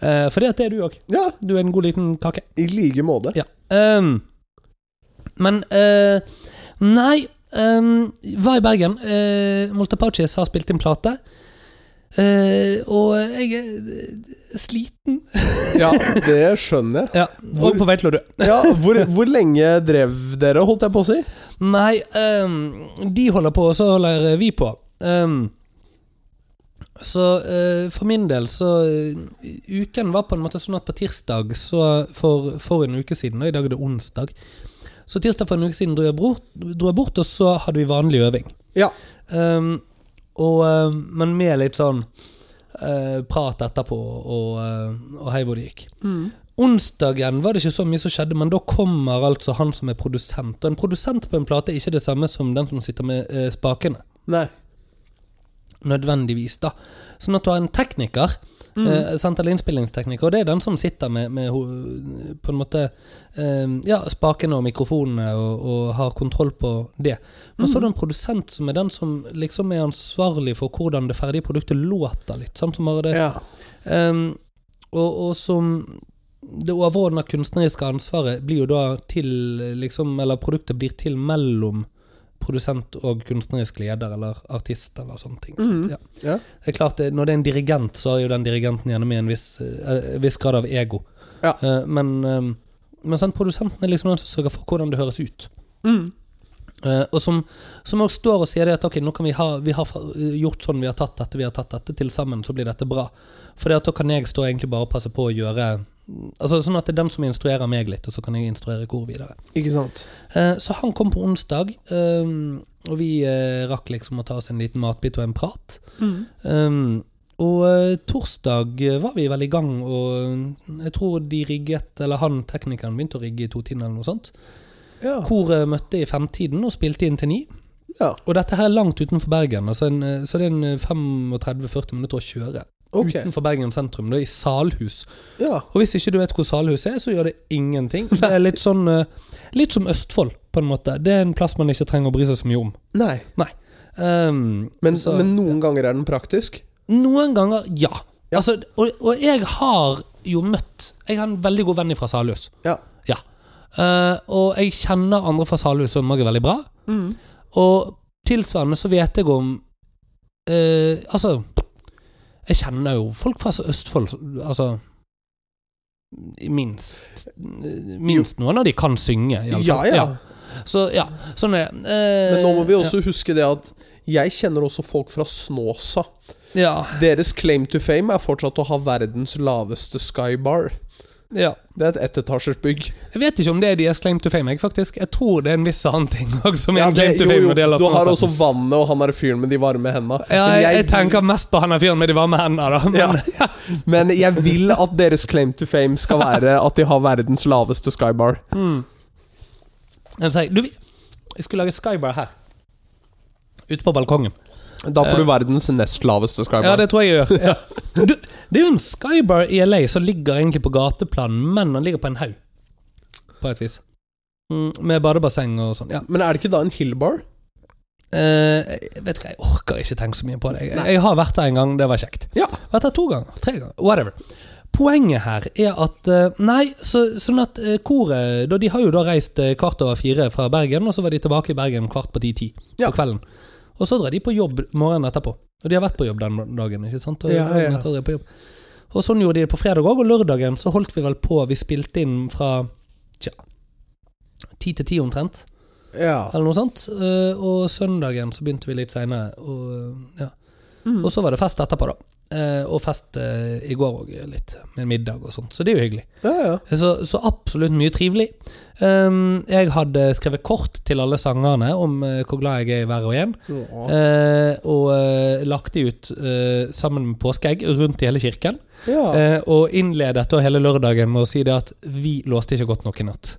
[SPEAKER 1] Eh, for det at det er du òg.
[SPEAKER 2] ja.
[SPEAKER 1] Du er en god liten kake.
[SPEAKER 2] I like måte.
[SPEAKER 1] Ja. Ehm, men eh, Nei, ehm, var i Bergen. Uh, Multiparches har spilt inn plate. Eh, og jeg er eh, sliten.
[SPEAKER 2] Ja, det skjønner jeg.
[SPEAKER 1] Ja, og på vei til å dø.
[SPEAKER 2] Ja, hvor, hvor lenge drev dere, holdt jeg på å si?
[SPEAKER 1] Nei, ehm, de holder på, og så holder vi på. Ehm, så eh, for min del så eh, Uken var på en måte sånn at på tirsdag så for, for en uke siden, og i dag er det onsdag Så tirsdag for en uke siden dro jeg bort, dro jeg bort og så hadde vi vanlig øving.
[SPEAKER 2] Ja.
[SPEAKER 1] Ehm, og, ehm, men med litt sånn eh, prat etterpå og, eh, og hei hvor det gikk. Onsdagen var det ikke så mye som skjedde, men da kommer altså han som er produsent. Og en produsent på en plate er ikke det samme som den som sitter med eh, spakene.
[SPEAKER 2] Nei.
[SPEAKER 1] Nødvendigvis, da. Sånn at du har en tekniker, eh, sant, eller innspillingstekniker, og det er den som sitter med, med ho- på en måte eh, ja, spakene og mikrofonene og, og har kontroll på det. Men så er det en produsent som er den som liksom er ansvarlig for hvordan det ferdige produktet låter litt. Sant, som har det
[SPEAKER 2] Ja.
[SPEAKER 1] Ehm, og, og som det overordna kunstneriske ansvaret blir jo da til liksom, Eller produktet blir til mellom produsent og kunstnerisk leder eller artist eller sånne ting. sant?
[SPEAKER 2] Mhm.
[SPEAKER 1] Ja.
[SPEAKER 2] Ja.
[SPEAKER 1] Det er klart, det- Når det er en dirigent, så er jo den dirigenten gjerne med en viss, eh, viss grad av ego.
[SPEAKER 2] Ja.
[SPEAKER 1] Eh, men ehm, men sant, produsenten er liksom den som sørger for hvordan det høres ut.
[SPEAKER 2] Mm.
[SPEAKER 1] Eh, og som, som også står og sier det at ok, nå kan vi ha vi har fa- gjort sånn, vi har tatt dette, vi har tatt dette, til sammen så blir dette bra. For det at da kan jeg stå egentlig bare og passe på å gjøre Altså Sånn at det er den som instruerer meg litt, og så kan jeg instruere kor videre.
[SPEAKER 2] Ikke sant.
[SPEAKER 1] Eh, så han kom på onsdag, ehm, og vi eh, rakk liksom å ta oss en liten matbit og en prat.
[SPEAKER 2] Mm.
[SPEAKER 1] Ehm, og eh, torsdag eh, var vi vel i gang, og eh, jeg tror de rigget, eller han teknikeren begynte å rigge i totiden eller noe sånt.
[SPEAKER 2] Ja.
[SPEAKER 1] Koret eh, møtte i femtiden og spilte inn til ni.
[SPEAKER 2] ja.
[SPEAKER 1] Og dette her er langt utenfor Bergen, altså en, eh, så det er en eh, 35-40 minutter å kjøre.
[SPEAKER 2] Ok.
[SPEAKER 1] Utenfor Bergen sentrum, det er i Salhus.
[SPEAKER 2] Ja.
[SPEAKER 1] Og hvis ikke du vet hvor Salhus er, så gjør det ingenting. Det er litt sånn eh, Litt som Østfold, på en måte. Det er en plass man ikke trenger å bry seg så mye om.
[SPEAKER 2] Nei.
[SPEAKER 1] Ehm,
[SPEAKER 2] Men,
[SPEAKER 1] så-
[SPEAKER 2] men noen ganger er den praktisk.
[SPEAKER 1] noen ganger, ja. Altså, og, og jeg har jo møtt Jeg har en veldig god venn fra Salhus.
[SPEAKER 2] Ja.
[SPEAKER 1] Ja. Eh, og jeg kjenner andre fra Salhus som også er veldig bra.
[SPEAKER 2] Mm.
[SPEAKER 1] Og tilsvarende så vet jeg om eh, Altså, jeg kjenner jo folk fra Østfold Altså Minst Minst noen av de kan synge. i alle
[SPEAKER 2] Ja,
[SPEAKER 1] fall.
[SPEAKER 2] ja.
[SPEAKER 1] Ja. Så ja, sånn er det. Eh,
[SPEAKER 2] Men nå må vi også huske det at jeg kjenner også folk fra Snåsa.
[SPEAKER 1] Ja.
[SPEAKER 2] Deres claim to fame er fortsatt å ha verdens laveste skybar.
[SPEAKER 1] ja.
[SPEAKER 2] Det er et ettetasjers bygg.
[SPEAKER 1] Jeg vet ikke om det er deres claim to fame. Jeg, faktisk. jeg tror det er en viss annen ting også, som er
[SPEAKER 2] Ja,
[SPEAKER 1] en claim
[SPEAKER 2] det-
[SPEAKER 1] to
[SPEAKER 2] jo,
[SPEAKER 1] fame.
[SPEAKER 2] jo,
[SPEAKER 1] når det gjelder
[SPEAKER 2] du
[SPEAKER 1] sånne
[SPEAKER 2] har
[SPEAKER 1] saker.
[SPEAKER 2] også vannet, og han er fyren med de varme hendene.
[SPEAKER 1] ja,
[SPEAKER 2] Men
[SPEAKER 1] jeg, jeg tenker mest på han der fyren med de varme hendene, da. Men,
[SPEAKER 2] Ja. Men jeg vil at deres claim to fame skal være at de har verdens laveste skybar.
[SPEAKER 1] Jeg sier, du, vi- jeg skulle lage skybar her. Ute på balkongen.
[SPEAKER 2] Da får du verdens nest laveste
[SPEAKER 1] Ja,
[SPEAKER 2] skybar.
[SPEAKER 1] det tror jeg jeg gjør. Ja. Du, det er jo en skybar i LA som ligger egentlig på gateplanen, men den ligger på en haug. På et vis. Mm, med badebasseng og sånn. Ja.
[SPEAKER 2] Men er det ikke da en hillbar?
[SPEAKER 1] Eh, jeg vet du hva, jeg orker ikke tenke så mye på det. Jeg, jeg har vært der en gang, det var kjekt.
[SPEAKER 2] Ja.
[SPEAKER 1] Vært der to ganger, tre ganger, whatever. Poenget her er at eh, Nei, så, sånn at eh, koret da, De har jo da reist eh, kvart over fire fra Bergen, og så var de tilbake i Bergen kvart på ti-ti
[SPEAKER 2] Ja.
[SPEAKER 1] på kvelden. Og så drar de på jobb morgenen etterpå. Og de har vært på jobb den dagen. ikke sant? Og,
[SPEAKER 2] Ja, ja, ja.
[SPEAKER 1] dagen etter drar de på jobb. og sånn gjorde de det på fredag òg, og lørdagen så holdt vi vel på Vi spilte inn fra tja, ti til ti omtrent
[SPEAKER 2] Ja.
[SPEAKER 1] eller noe sånt. Eh, og søndagen så begynte vi litt seinere. Og, ja.
[SPEAKER 2] Mm.
[SPEAKER 1] og så var det fest etterpå, da. Eh, og fest eh, i går òg, litt. Med en middag og sånt. Så det er jo hyggelig.
[SPEAKER 2] ja, ja.
[SPEAKER 1] Så, så absolutt mye trivelig. Ehm, jeg hadde skrevet kort til alle sangerne om eh, hvor glad jeg er i hver og en. Eh, og eh, lagt de ut eh, sammen med påskeegg rundt i hele kirken.
[SPEAKER 2] Ja.
[SPEAKER 1] Eh, og innledet da hele lørdagen med å si det at vi låste ikke godt nok i natt.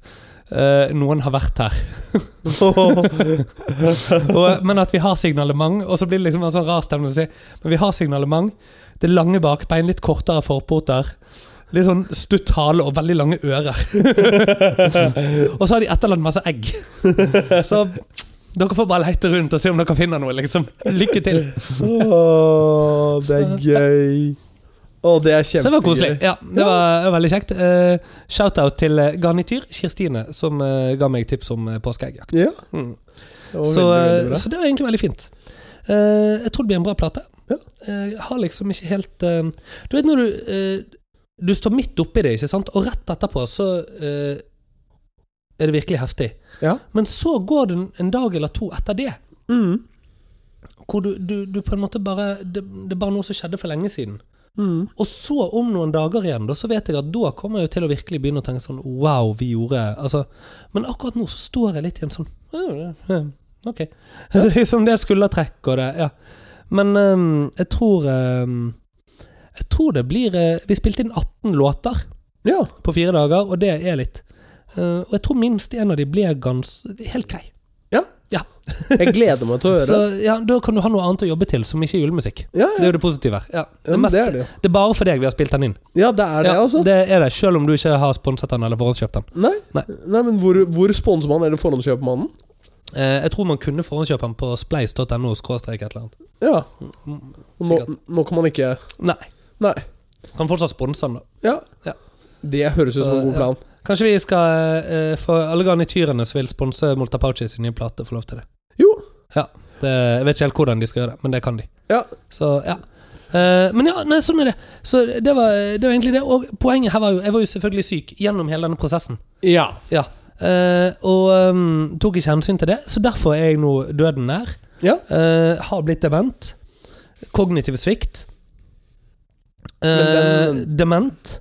[SPEAKER 1] Eh, noen har vært her. og, men at vi har signalement, og så blir det liksom en sånn rar stemning å si Men vi har signalement. Det er lange bakbein, litt kortere forpoter. Litt sånn stutt hale og veldig lange ører. og så har de etterlatt masse egg. så dere får bare leite rundt og se om dere finner noe, liksom. Lykke til.
[SPEAKER 2] Åh, det er gøy. Å, det er kjempegøy.
[SPEAKER 1] Så det var koselig. Ja, det var veldig kjekt. Eh, Shout-out til eh, Garnityr Kirstine, som eh, ga meg tips om eh, påskeeggjakt.
[SPEAKER 2] Ja.
[SPEAKER 1] Mm.
[SPEAKER 2] Det var
[SPEAKER 1] Så,
[SPEAKER 2] veldig,
[SPEAKER 1] eh,
[SPEAKER 2] veldig bra.
[SPEAKER 1] så det var egentlig veldig fint. Eh, jeg tror det blir en bra plate.
[SPEAKER 2] Ja.
[SPEAKER 1] Eh, jeg har liksom ikke helt eh, Du vet når du eh, Du står midt oppi det, ikke sant, og rett etterpå så eh, er det virkelig heftig.
[SPEAKER 2] Ja.
[SPEAKER 1] Men så går det en- en dag eller to etter det,
[SPEAKER 2] Mm.
[SPEAKER 1] hvor du, du, du på en måte bare det, det er bare noe som skjedde for lenge siden.
[SPEAKER 2] Mm.
[SPEAKER 1] Og så, om noen dager igjen, da, så vet jeg at da kommer jeg jo til å virkelig begynne å tenke sånn Wow, vi gjorde altså, Men akkurat nå så står jeg litt igjen sånn «Ja, ja, Ok. Liksom det er skuldertrekk og det Ja. Men ehm, jeg tror ehm, Jeg tror det blir eh, Vi spilte inn 18 låter.
[SPEAKER 2] Ja.
[SPEAKER 1] på fire dager, og det er litt. Eh, og jeg tror minst en av de blir gans helt grei.
[SPEAKER 2] Jeg gleder meg til å
[SPEAKER 1] Så
[SPEAKER 2] høre.
[SPEAKER 1] ja, da kan du ha noe annet å jobbe til som ikke er julemusikk. Det
[SPEAKER 2] Ja, ja.
[SPEAKER 1] er jo det positive her. Ja,
[SPEAKER 2] ja
[SPEAKER 1] det,
[SPEAKER 2] men
[SPEAKER 1] meste-
[SPEAKER 2] det er det jo.
[SPEAKER 1] det er bare for deg vi har spilt den inn.
[SPEAKER 2] Ja, det er det,
[SPEAKER 1] Ja,
[SPEAKER 2] altså.
[SPEAKER 1] det er det, selv om du ikke har sponset den eller forhåndskjøpt den.
[SPEAKER 2] Nei.
[SPEAKER 1] Nei.
[SPEAKER 2] Nei. men hvor, hvor sponser man, eller forhåndskjøper man den?
[SPEAKER 1] Eh, jeg tror man kunne forhåndskjøpe den på spleis.no skråstrek et eller annet.
[SPEAKER 2] Ja. Nå,
[SPEAKER 1] Sikkert.
[SPEAKER 2] nå kan man ikke
[SPEAKER 1] Nei.
[SPEAKER 2] Nei.
[SPEAKER 1] Kan fortsatt sponse den, da.
[SPEAKER 2] Ja.
[SPEAKER 1] Ja.
[SPEAKER 2] Det høres ut som
[SPEAKER 1] Så,
[SPEAKER 2] en god
[SPEAKER 1] ja.
[SPEAKER 2] plan.
[SPEAKER 1] Kanskje vi skal eh, få alle garnityrene som vil sponse Moltapauci sin nye plate, få lov til det.
[SPEAKER 2] Jo.
[SPEAKER 1] Ja. Det, jeg vet ikke helt hvordan de skal gjøre det, men det kan de.
[SPEAKER 2] Ja.
[SPEAKER 1] Så, ja. Eh, men ja, nei, sånn er det. Så det var, det var egentlig det. Og poenget her var jo Jeg var jo selvfølgelig syk gjennom hele denne prosessen.
[SPEAKER 2] Ja.
[SPEAKER 1] Ja. Eh, og um, tok ikke hensyn til det, så derfor er jeg nå døden nær.
[SPEAKER 2] Ja.
[SPEAKER 1] Eh, har blitt dement. Kognitiv svikt. Eh,
[SPEAKER 2] Men
[SPEAKER 1] dement.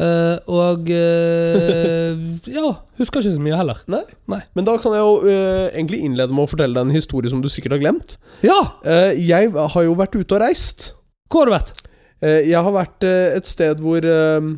[SPEAKER 1] Eh, og eh, Ja, husker ikke så mye heller.
[SPEAKER 2] Nei.
[SPEAKER 1] Nei.
[SPEAKER 2] Men da kan jeg jo eh, egentlig innlede med å fortelle deg en historie som du sikkert har glemt.
[SPEAKER 1] Ja!
[SPEAKER 2] Eh, jeg har jo vært ute og reist.
[SPEAKER 1] Hvor har du vært?
[SPEAKER 2] Eh, jeg har vært eh, et sted hvor eh,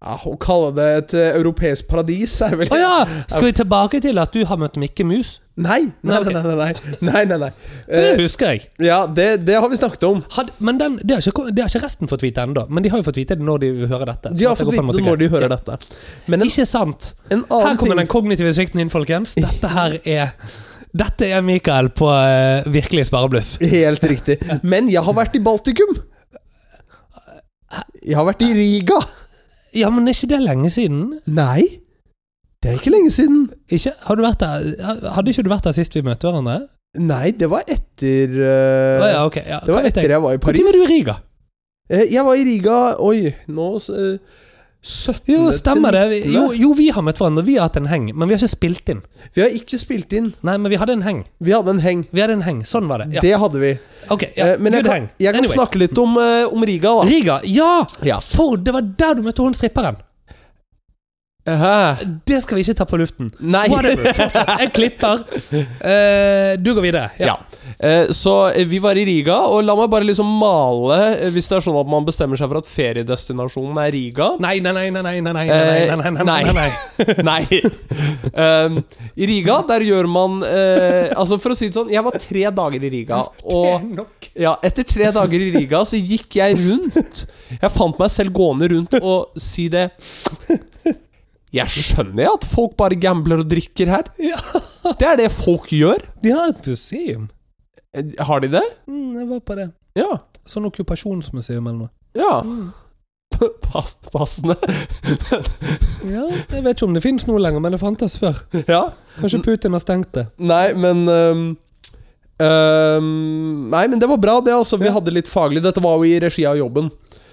[SPEAKER 2] ja, Å kalle det et eh, europeisk paradis er vel
[SPEAKER 1] Å ja! Skal vi tilbake til at du har møtt Mikke Mus?
[SPEAKER 2] Nei,
[SPEAKER 1] Nei,
[SPEAKER 2] nei,
[SPEAKER 1] ok.
[SPEAKER 2] nei, nei, nei, nei, nei, nei.
[SPEAKER 1] For det
[SPEAKER 2] Eh,
[SPEAKER 1] husker jeg.
[SPEAKER 2] ja, det, det har vi snakket om.
[SPEAKER 1] Had, men den, det, har ikke, kom- det har ikke resten fått vite ennå. Men de har jo fått vite det når de hører dette.
[SPEAKER 2] De har fått vite det når de hører dette. Men en,
[SPEAKER 1] Ikke sant?
[SPEAKER 2] en
[SPEAKER 1] Her
[SPEAKER 2] annen
[SPEAKER 1] kommer den
[SPEAKER 2] ting
[SPEAKER 1] kognitive svikten inn, folkens. Dette her er Dette er Mikael på eh, virkelig sparebluss.
[SPEAKER 2] Helt riktig. Men jeg har vært i Baltikum. Jeg har vært i Riga.
[SPEAKER 1] Ja, men er ikke det lenge siden?
[SPEAKER 2] Nei, det er ikke lenge siden.
[SPEAKER 1] Ikke, har du vært der, hadde ikke du vært der sist vi møtte hverandre?
[SPEAKER 2] Nei, det var etter
[SPEAKER 1] Å
[SPEAKER 2] eh,
[SPEAKER 1] ja, ok. Ja,
[SPEAKER 2] Det var etter jeg var i Paris.
[SPEAKER 1] Når var du i Riga?
[SPEAKER 2] Eh, Jeg var i Riga Oi, nå eh, 17.
[SPEAKER 1] Jo,
[SPEAKER 2] til
[SPEAKER 1] stemmer det. Vi-
[SPEAKER 2] 19..
[SPEAKER 1] Jo, jo, vi har møtt hverandre. Vi har hatt en heng, men vi har ikke spilt inn.
[SPEAKER 2] Vi har ikke spilt inn.
[SPEAKER 1] Nei, men vi hadde en heng.
[SPEAKER 2] Vi hadde en heng.
[SPEAKER 1] Vi hadde en heng. Sånn var det. Ja.
[SPEAKER 2] Det hadde vi.
[SPEAKER 1] Ok, ja.
[SPEAKER 2] Eh, Men jeg
[SPEAKER 1] Good
[SPEAKER 2] kan,
[SPEAKER 1] heng.
[SPEAKER 2] jeg kan
[SPEAKER 1] Anyway.
[SPEAKER 2] snakke litt om, eh, om Riga, da.
[SPEAKER 1] Riga, ja!
[SPEAKER 2] Ja.
[SPEAKER 1] For det var der du møtte hun stripperen.
[SPEAKER 2] Hæ?
[SPEAKER 1] Det skal vi ikke ta på luften.
[SPEAKER 2] Nei.
[SPEAKER 1] Whatever. fortsett. Jeg klipper. Eh, du går videre. Ja.
[SPEAKER 2] Ja. Eh, Så eh, vi var i Riga, og la meg bare liksom male eh, Hvis det er sånn at man bestemmer seg for at feriedestinasjonen er Riga.
[SPEAKER 1] Nei, nei, nei, nei, nei, nei, nei, nei, nei, nei, nei, nei, nei.
[SPEAKER 2] Eh, Nei. Um, I Riga, der gjør man eh, Altså, for å si det sånn, jeg var tre dager i Riga, og
[SPEAKER 1] nok.
[SPEAKER 2] Ja, etter tre dager i Riga så gikk jeg rundt. Jeg fant meg selv gående rundt og si det. Jeg skjønner at folk bare gambler og drikker her.
[SPEAKER 1] Ja.
[SPEAKER 2] Det er det folk gjør.
[SPEAKER 1] De har et museum.
[SPEAKER 2] Eh, Har de det?
[SPEAKER 1] Mm, jeg var på det.
[SPEAKER 2] Ja.
[SPEAKER 1] Sånn okkupasjonsmuseum eller noe.
[SPEAKER 2] Ja. Pass, passende.
[SPEAKER 1] Ja, Jeg vet ikke om det finnes noe lenger, men det fantes før.
[SPEAKER 2] Ja.
[SPEAKER 1] Kanskje Putin har stengt det.
[SPEAKER 2] Nei, men ehm, ehm, Nei, men det var bra, det. altså Vi
[SPEAKER 1] Ja.
[SPEAKER 2] hadde litt faglig. Dette var jo i regi av jobben.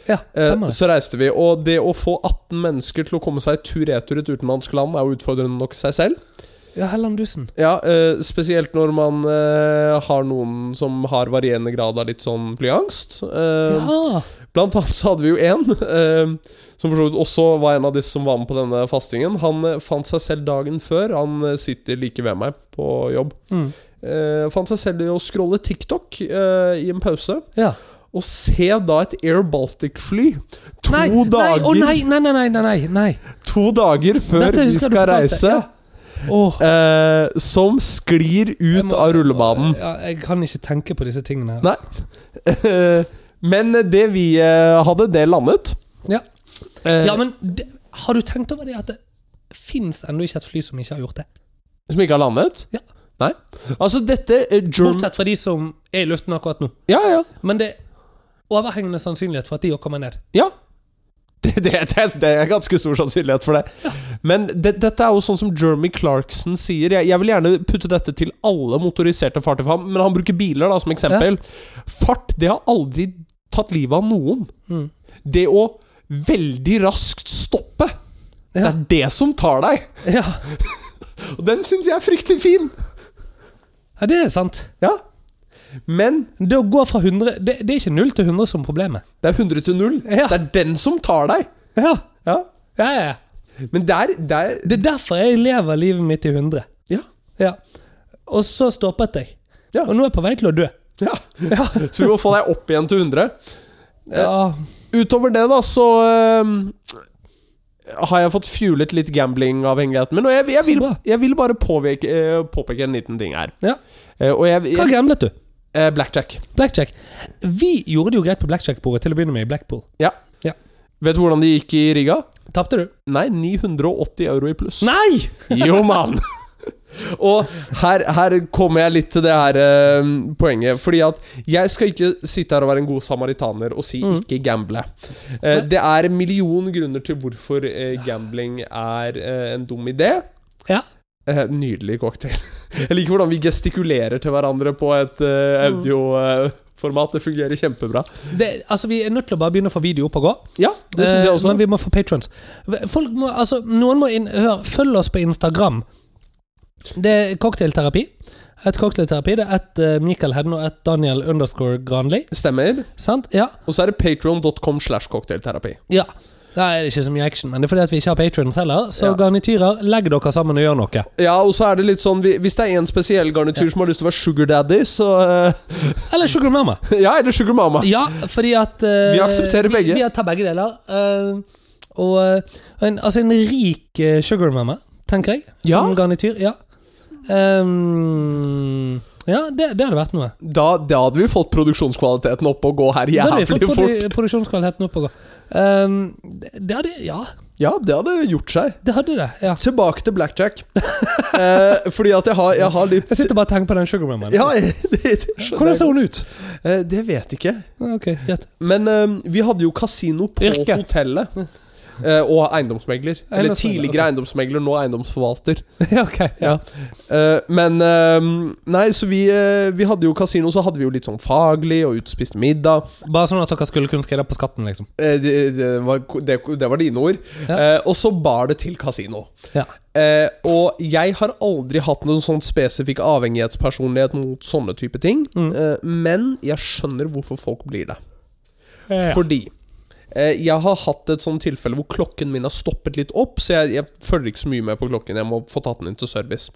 [SPEAKER 1] Ja,
[SPEAKER 2] Eh,
[SPEAKER 1] stemmer det.
[SPEAKER 2] Så reiste vi, og det å få 18 mennesker til å komme seg tur-retur et utenlandsk land er jo utfordrende nok i seg selv.
[SPEAKER 1] Ja, Helland Dussen.
[SPEAKER 2] Ja, eh, Spesielt når man eh, har noen som har varierende grad av litt sånn flyangst. Eh,
[SPEAKER 1] Ja.
[SPEAKER 2] Blant annet så hadde vi jo en eh, som for så vidt også var en av disse som var med på denne fastingen. Han eh, fant seg selv dagen før. Han eh, sitter like ved meg på jobb.
[SPEAKER 1] Mm.
[SPEAKER 2] Eh, fant seg selv i å scrolle TikTok eh, i en pause,
[SPEAKER 1] ja.
[SPEAKER 2] og se da et Air Baltic-fly to
[SPEAKER 1] Nei, nei,
[SPEAKER 2] dager
[SPEAKER 1] å nei, nei, nei, nei, nei, nei, nei.
[SPEAKER 2] To dager før
[SPEAKER 1] Dette
[SPEAKER 2] vi
[SPEAKER 1] husker du
[SPEAKER 2] skal
[SPEAKER 1] fortalte,
[SPEAKER 2] reise,
[SPEAKER 1] ja. Åh.
[SPEAKER 2] eh, som sklir ut
[SPEAKER 1] Jeg må-
[SPEAKER 2] av rullebanen.
[SPEAKER 1] Ja, jeg kan ikke tenke på disse tingene. her.
[SPEAKER 2] Nei. Men det vi eh, hadde, det landet.
[SPEAKER 1] Ja.
[SPEAKER 2] Eh,
[SPEAKER 1] Ja, men det, har du tenkt over det at det fins ennå ikke et fly som ikke har gjort det?
[SPEAKER 2] Som ikke har landet?
[SPEAKER 1] Ja.
[SPEAKER 2] Nei. Altså, dette eh, Germ...
[SPEAKER 1] Bortsett fra de som er i luften akkurat nå.
[SPEAKER 2] Ja, ja.
[SPEAKER 1] Men det er overhengende sannsynlighet for at de òg kommer ned.
[SPEAKER 2] ja. Det, det, det, er- det er ganske stor sannsynlighet for det. Men det, dette er jo sånn som Jeremy Clarkson sier. Jeg, jeg vil gjerne putte dette til alle motoriserte fartøy, for han- men han bruker biler da som eksempel. Fart, det har aldri tatt livet av noen.
[SPEAKER 1] Mm.
[SPEAKER 2] Det å veldig raskt stoppe, det
[SPEAKER 1] Ja.
[SPEAKER 2] er det som tar deg.
[SPEAKER 1] Ja,
[SPEAKER 2] Og den syns jeg er fryktelig fin.
[SPEAKER 1] ja det er sant.
[SPEAKER 2] Ja. Men
[SPEAKER 1] Det å gå fra 100 Det, det er ikke 0 til 100 som problemet.
[SPEAKER 2] det er 100 til 0.
[SPEAKER 1] Ja.
[SPEAKER 2] Det er den som tar deg.
[SPEAKER 1] Ja,
[SPEAKER 2] Ja.
[SPEAKER 1] ja, ja, ja.
[SPEAKER 2] Men der, der
[SPEAKER 1] Det er derfor jeg lever livet mitt i 100.
[SPEAKER 2] Ja.
[SPEAKER 1] Ja. Og så stoppet jeg.
[SPEAKER 2] Ja.
[SPEAKER 1] Og nå er jeg på vei til å dø.
[SPEAKER 2] ja. Så vi må få deg opp igjen til 100.
[SPEAKER 1] Ja,
[SPEAKER 2] Utover det, da, så eh, har jeg fått fuelet litt gamblingavhengigheten min. Og jeg, jeg,
[SPEAKER 1] Så
[SPEAKER 2] vil,
[SPEAKER 1] bra.
[SPEAKER 2] jeg vil bare påveke, eh, påpeke en liten ting her.
[SPEAKER 1] Ja.
[SPEAKER 2] Eh, og jeg,
[SPEAKER 1] Hva
[SPEAKER 2] jeg
[SPEAKER 1] gamblet du?
[SPEAKER 2] eh, Blackjack.
[SPEAKER 1] Blackjack. Vi gjorde det jo greit på blackjack-bordet til å begynne med i Blackpool.
[SPEAKER 2] Vet du hvordan det gikk i Riga?
[SPEAKER 1] Tapte du?
[SPEAKER 2] Nei, 980 euro i pluss.
[SPEAKER 1] Nei!
[SPEAKER 2] Jo, mann! Og her, her kommer jeg litt til det her eh, poenget. Fordi at jeg skal ikke sitte her og være en god samaritaner og si
[SPEAKER 1] Mm.
[SPEAKER 2] 'ikke gamble'. Eh, det er en million grunner til hvorfor eh, gambling er eh, en dum idé.
[SPEAKER 1] Ja.
[SPEAKER 2] Eh, nydelig cocktail. Jeg liker hvordan vi gestikulerer til hverandre på et eh,
[SPEAKER 1] Mm.
[SPEAKER 2] audioformat. Det fungerer kjempebra.
[SPEAKER 1] Det, altså, vi er nødt til å bare begynne å få video opp og gå.
[SPEAKER 2] Ja, det syns jeg
[SPEAKER 1] Eh,
[SPEAKER 2] også.
[SPEAKER 1] Men vi må få patrons. Folk må, altså, noen må inn, hør, følg oss på Instagram. Det er cocktailterapi. Et cocktailterapi. Det er ett eh, Michael Hedden og ett Daniel underscore Granli.
[SPEAKER 2] Stemmer.
[SPEAKER 1] Sant? Ja.
[SPEAKER 2] Og så er det patron.com slash cocktailterapi.
[SPEAKER 1] ja. Da er det ikke så mye action, men det er fordi at vi ikke har patrons heller. Så
[SPEAKER 2] Ja.
[SPEAKER 1] garnityrer, legg dere sammen og gjør noe.
[SPEAKER 2] Ja, og så er det litt sånn vi- Hvis det er én spesiell garnityr som har lyst til å være sugar daddy, så eh,
[SPEAKER 1] Eller Sugar Mama.
[SPEAKER 2] Ja, eller sugar mama.
[SPEAKER 1] Ja, fordi at eh,
[SPEAKER 2] Vi aksepterer begge.
[SPEAKER 1] Ah. Vi, vi tar begge deler. eh, og eh, en, altså en rik eh, sugar mama, tenker jeg. Som
[SPEAKER 2] Ja.
[SPEAKER 1] garnityr. Ja, Ehm, ja det, det hadde vært noe.
[SPEAKER 2] Da, da hadde vi fått produksjonskvaliteten opp og gå her
[SPEAKER 1] Da hadde vi fått
[SPEAKER 2] jævlig fort.
[SPEAKER 1] produ produksjonskvaliteten opp å gå. Ehm, det, det hadde Ja,
[SPEAKER 2] Ja, det hadde gjort seg.
[SPEAKER 1] det hadde det. Ja.
[SPEAKER 2] Tilbake til blackjack. eh, fordi at jeg har, jeg har litt
[SPEAKER 1] Jeg sitter bare og tenker på den sugar mamaen.
[SPEAKER 2] Ja, det, det
[SPEAKER 1] Hvordan
[SPEAKER 2] skjønner
[SPEAKER 1] ser
[SPEAKER 2] jeg.
[SPEAKER 1] hun ut?
[SPEAKER 2] Eh, det vet jeg ikke.
[SPEAKER 1] Ja, Ah, Ok, greit.
[SPEAKER 2] Men eh, vi hadde jo kasino på
[SPEAKER 1] Yrke.
[SPEAKER 2] hotellet. Eh, og eiendomsmegler. Eller
[SPEAKER 1] Eiendomsmegler, ok.
[SPEAKER 2] tidligere eiendomsmegler, nå eiendomsforvalter.
[SPEAKER 1] ja, ok, ja.
[SPEAKER 2] Eh, men eh, Nei, så vi, eh, vi hadde jo kasino, så hadde vi jo litt sånn faglig og utspist middag.
[SPEAKER 1] Bare sånn at dere skulle kunne skrive på skatten, liksom.
[SPEAKER 2] Eh, det, det, var, det, det var dine ord.
[SPEAKER 1] Ja.
[SPEAKER 2] Eh, og så bar det til kasino.
[SPEAKER 1] Ja.
[SPEAKER 2] Eh, og jeg har aldri hatt noen sånn spesifikk avhengighetspersonlighet mot sånne type ting.
[SPEAKER 1] Mm.
[SPEAKER 2] Eh, men jeg skjønner hvorfor folk blir det.
[SPEAKER 1] Ja.
[SPEAKER 2] Fordi eh, jeg har hatt et sånt tilfelle hvor klokken min har stoppet litt opp, så jeg, jeg følger ikke så mye med på klokken. Jeg må få tatt den inn til service.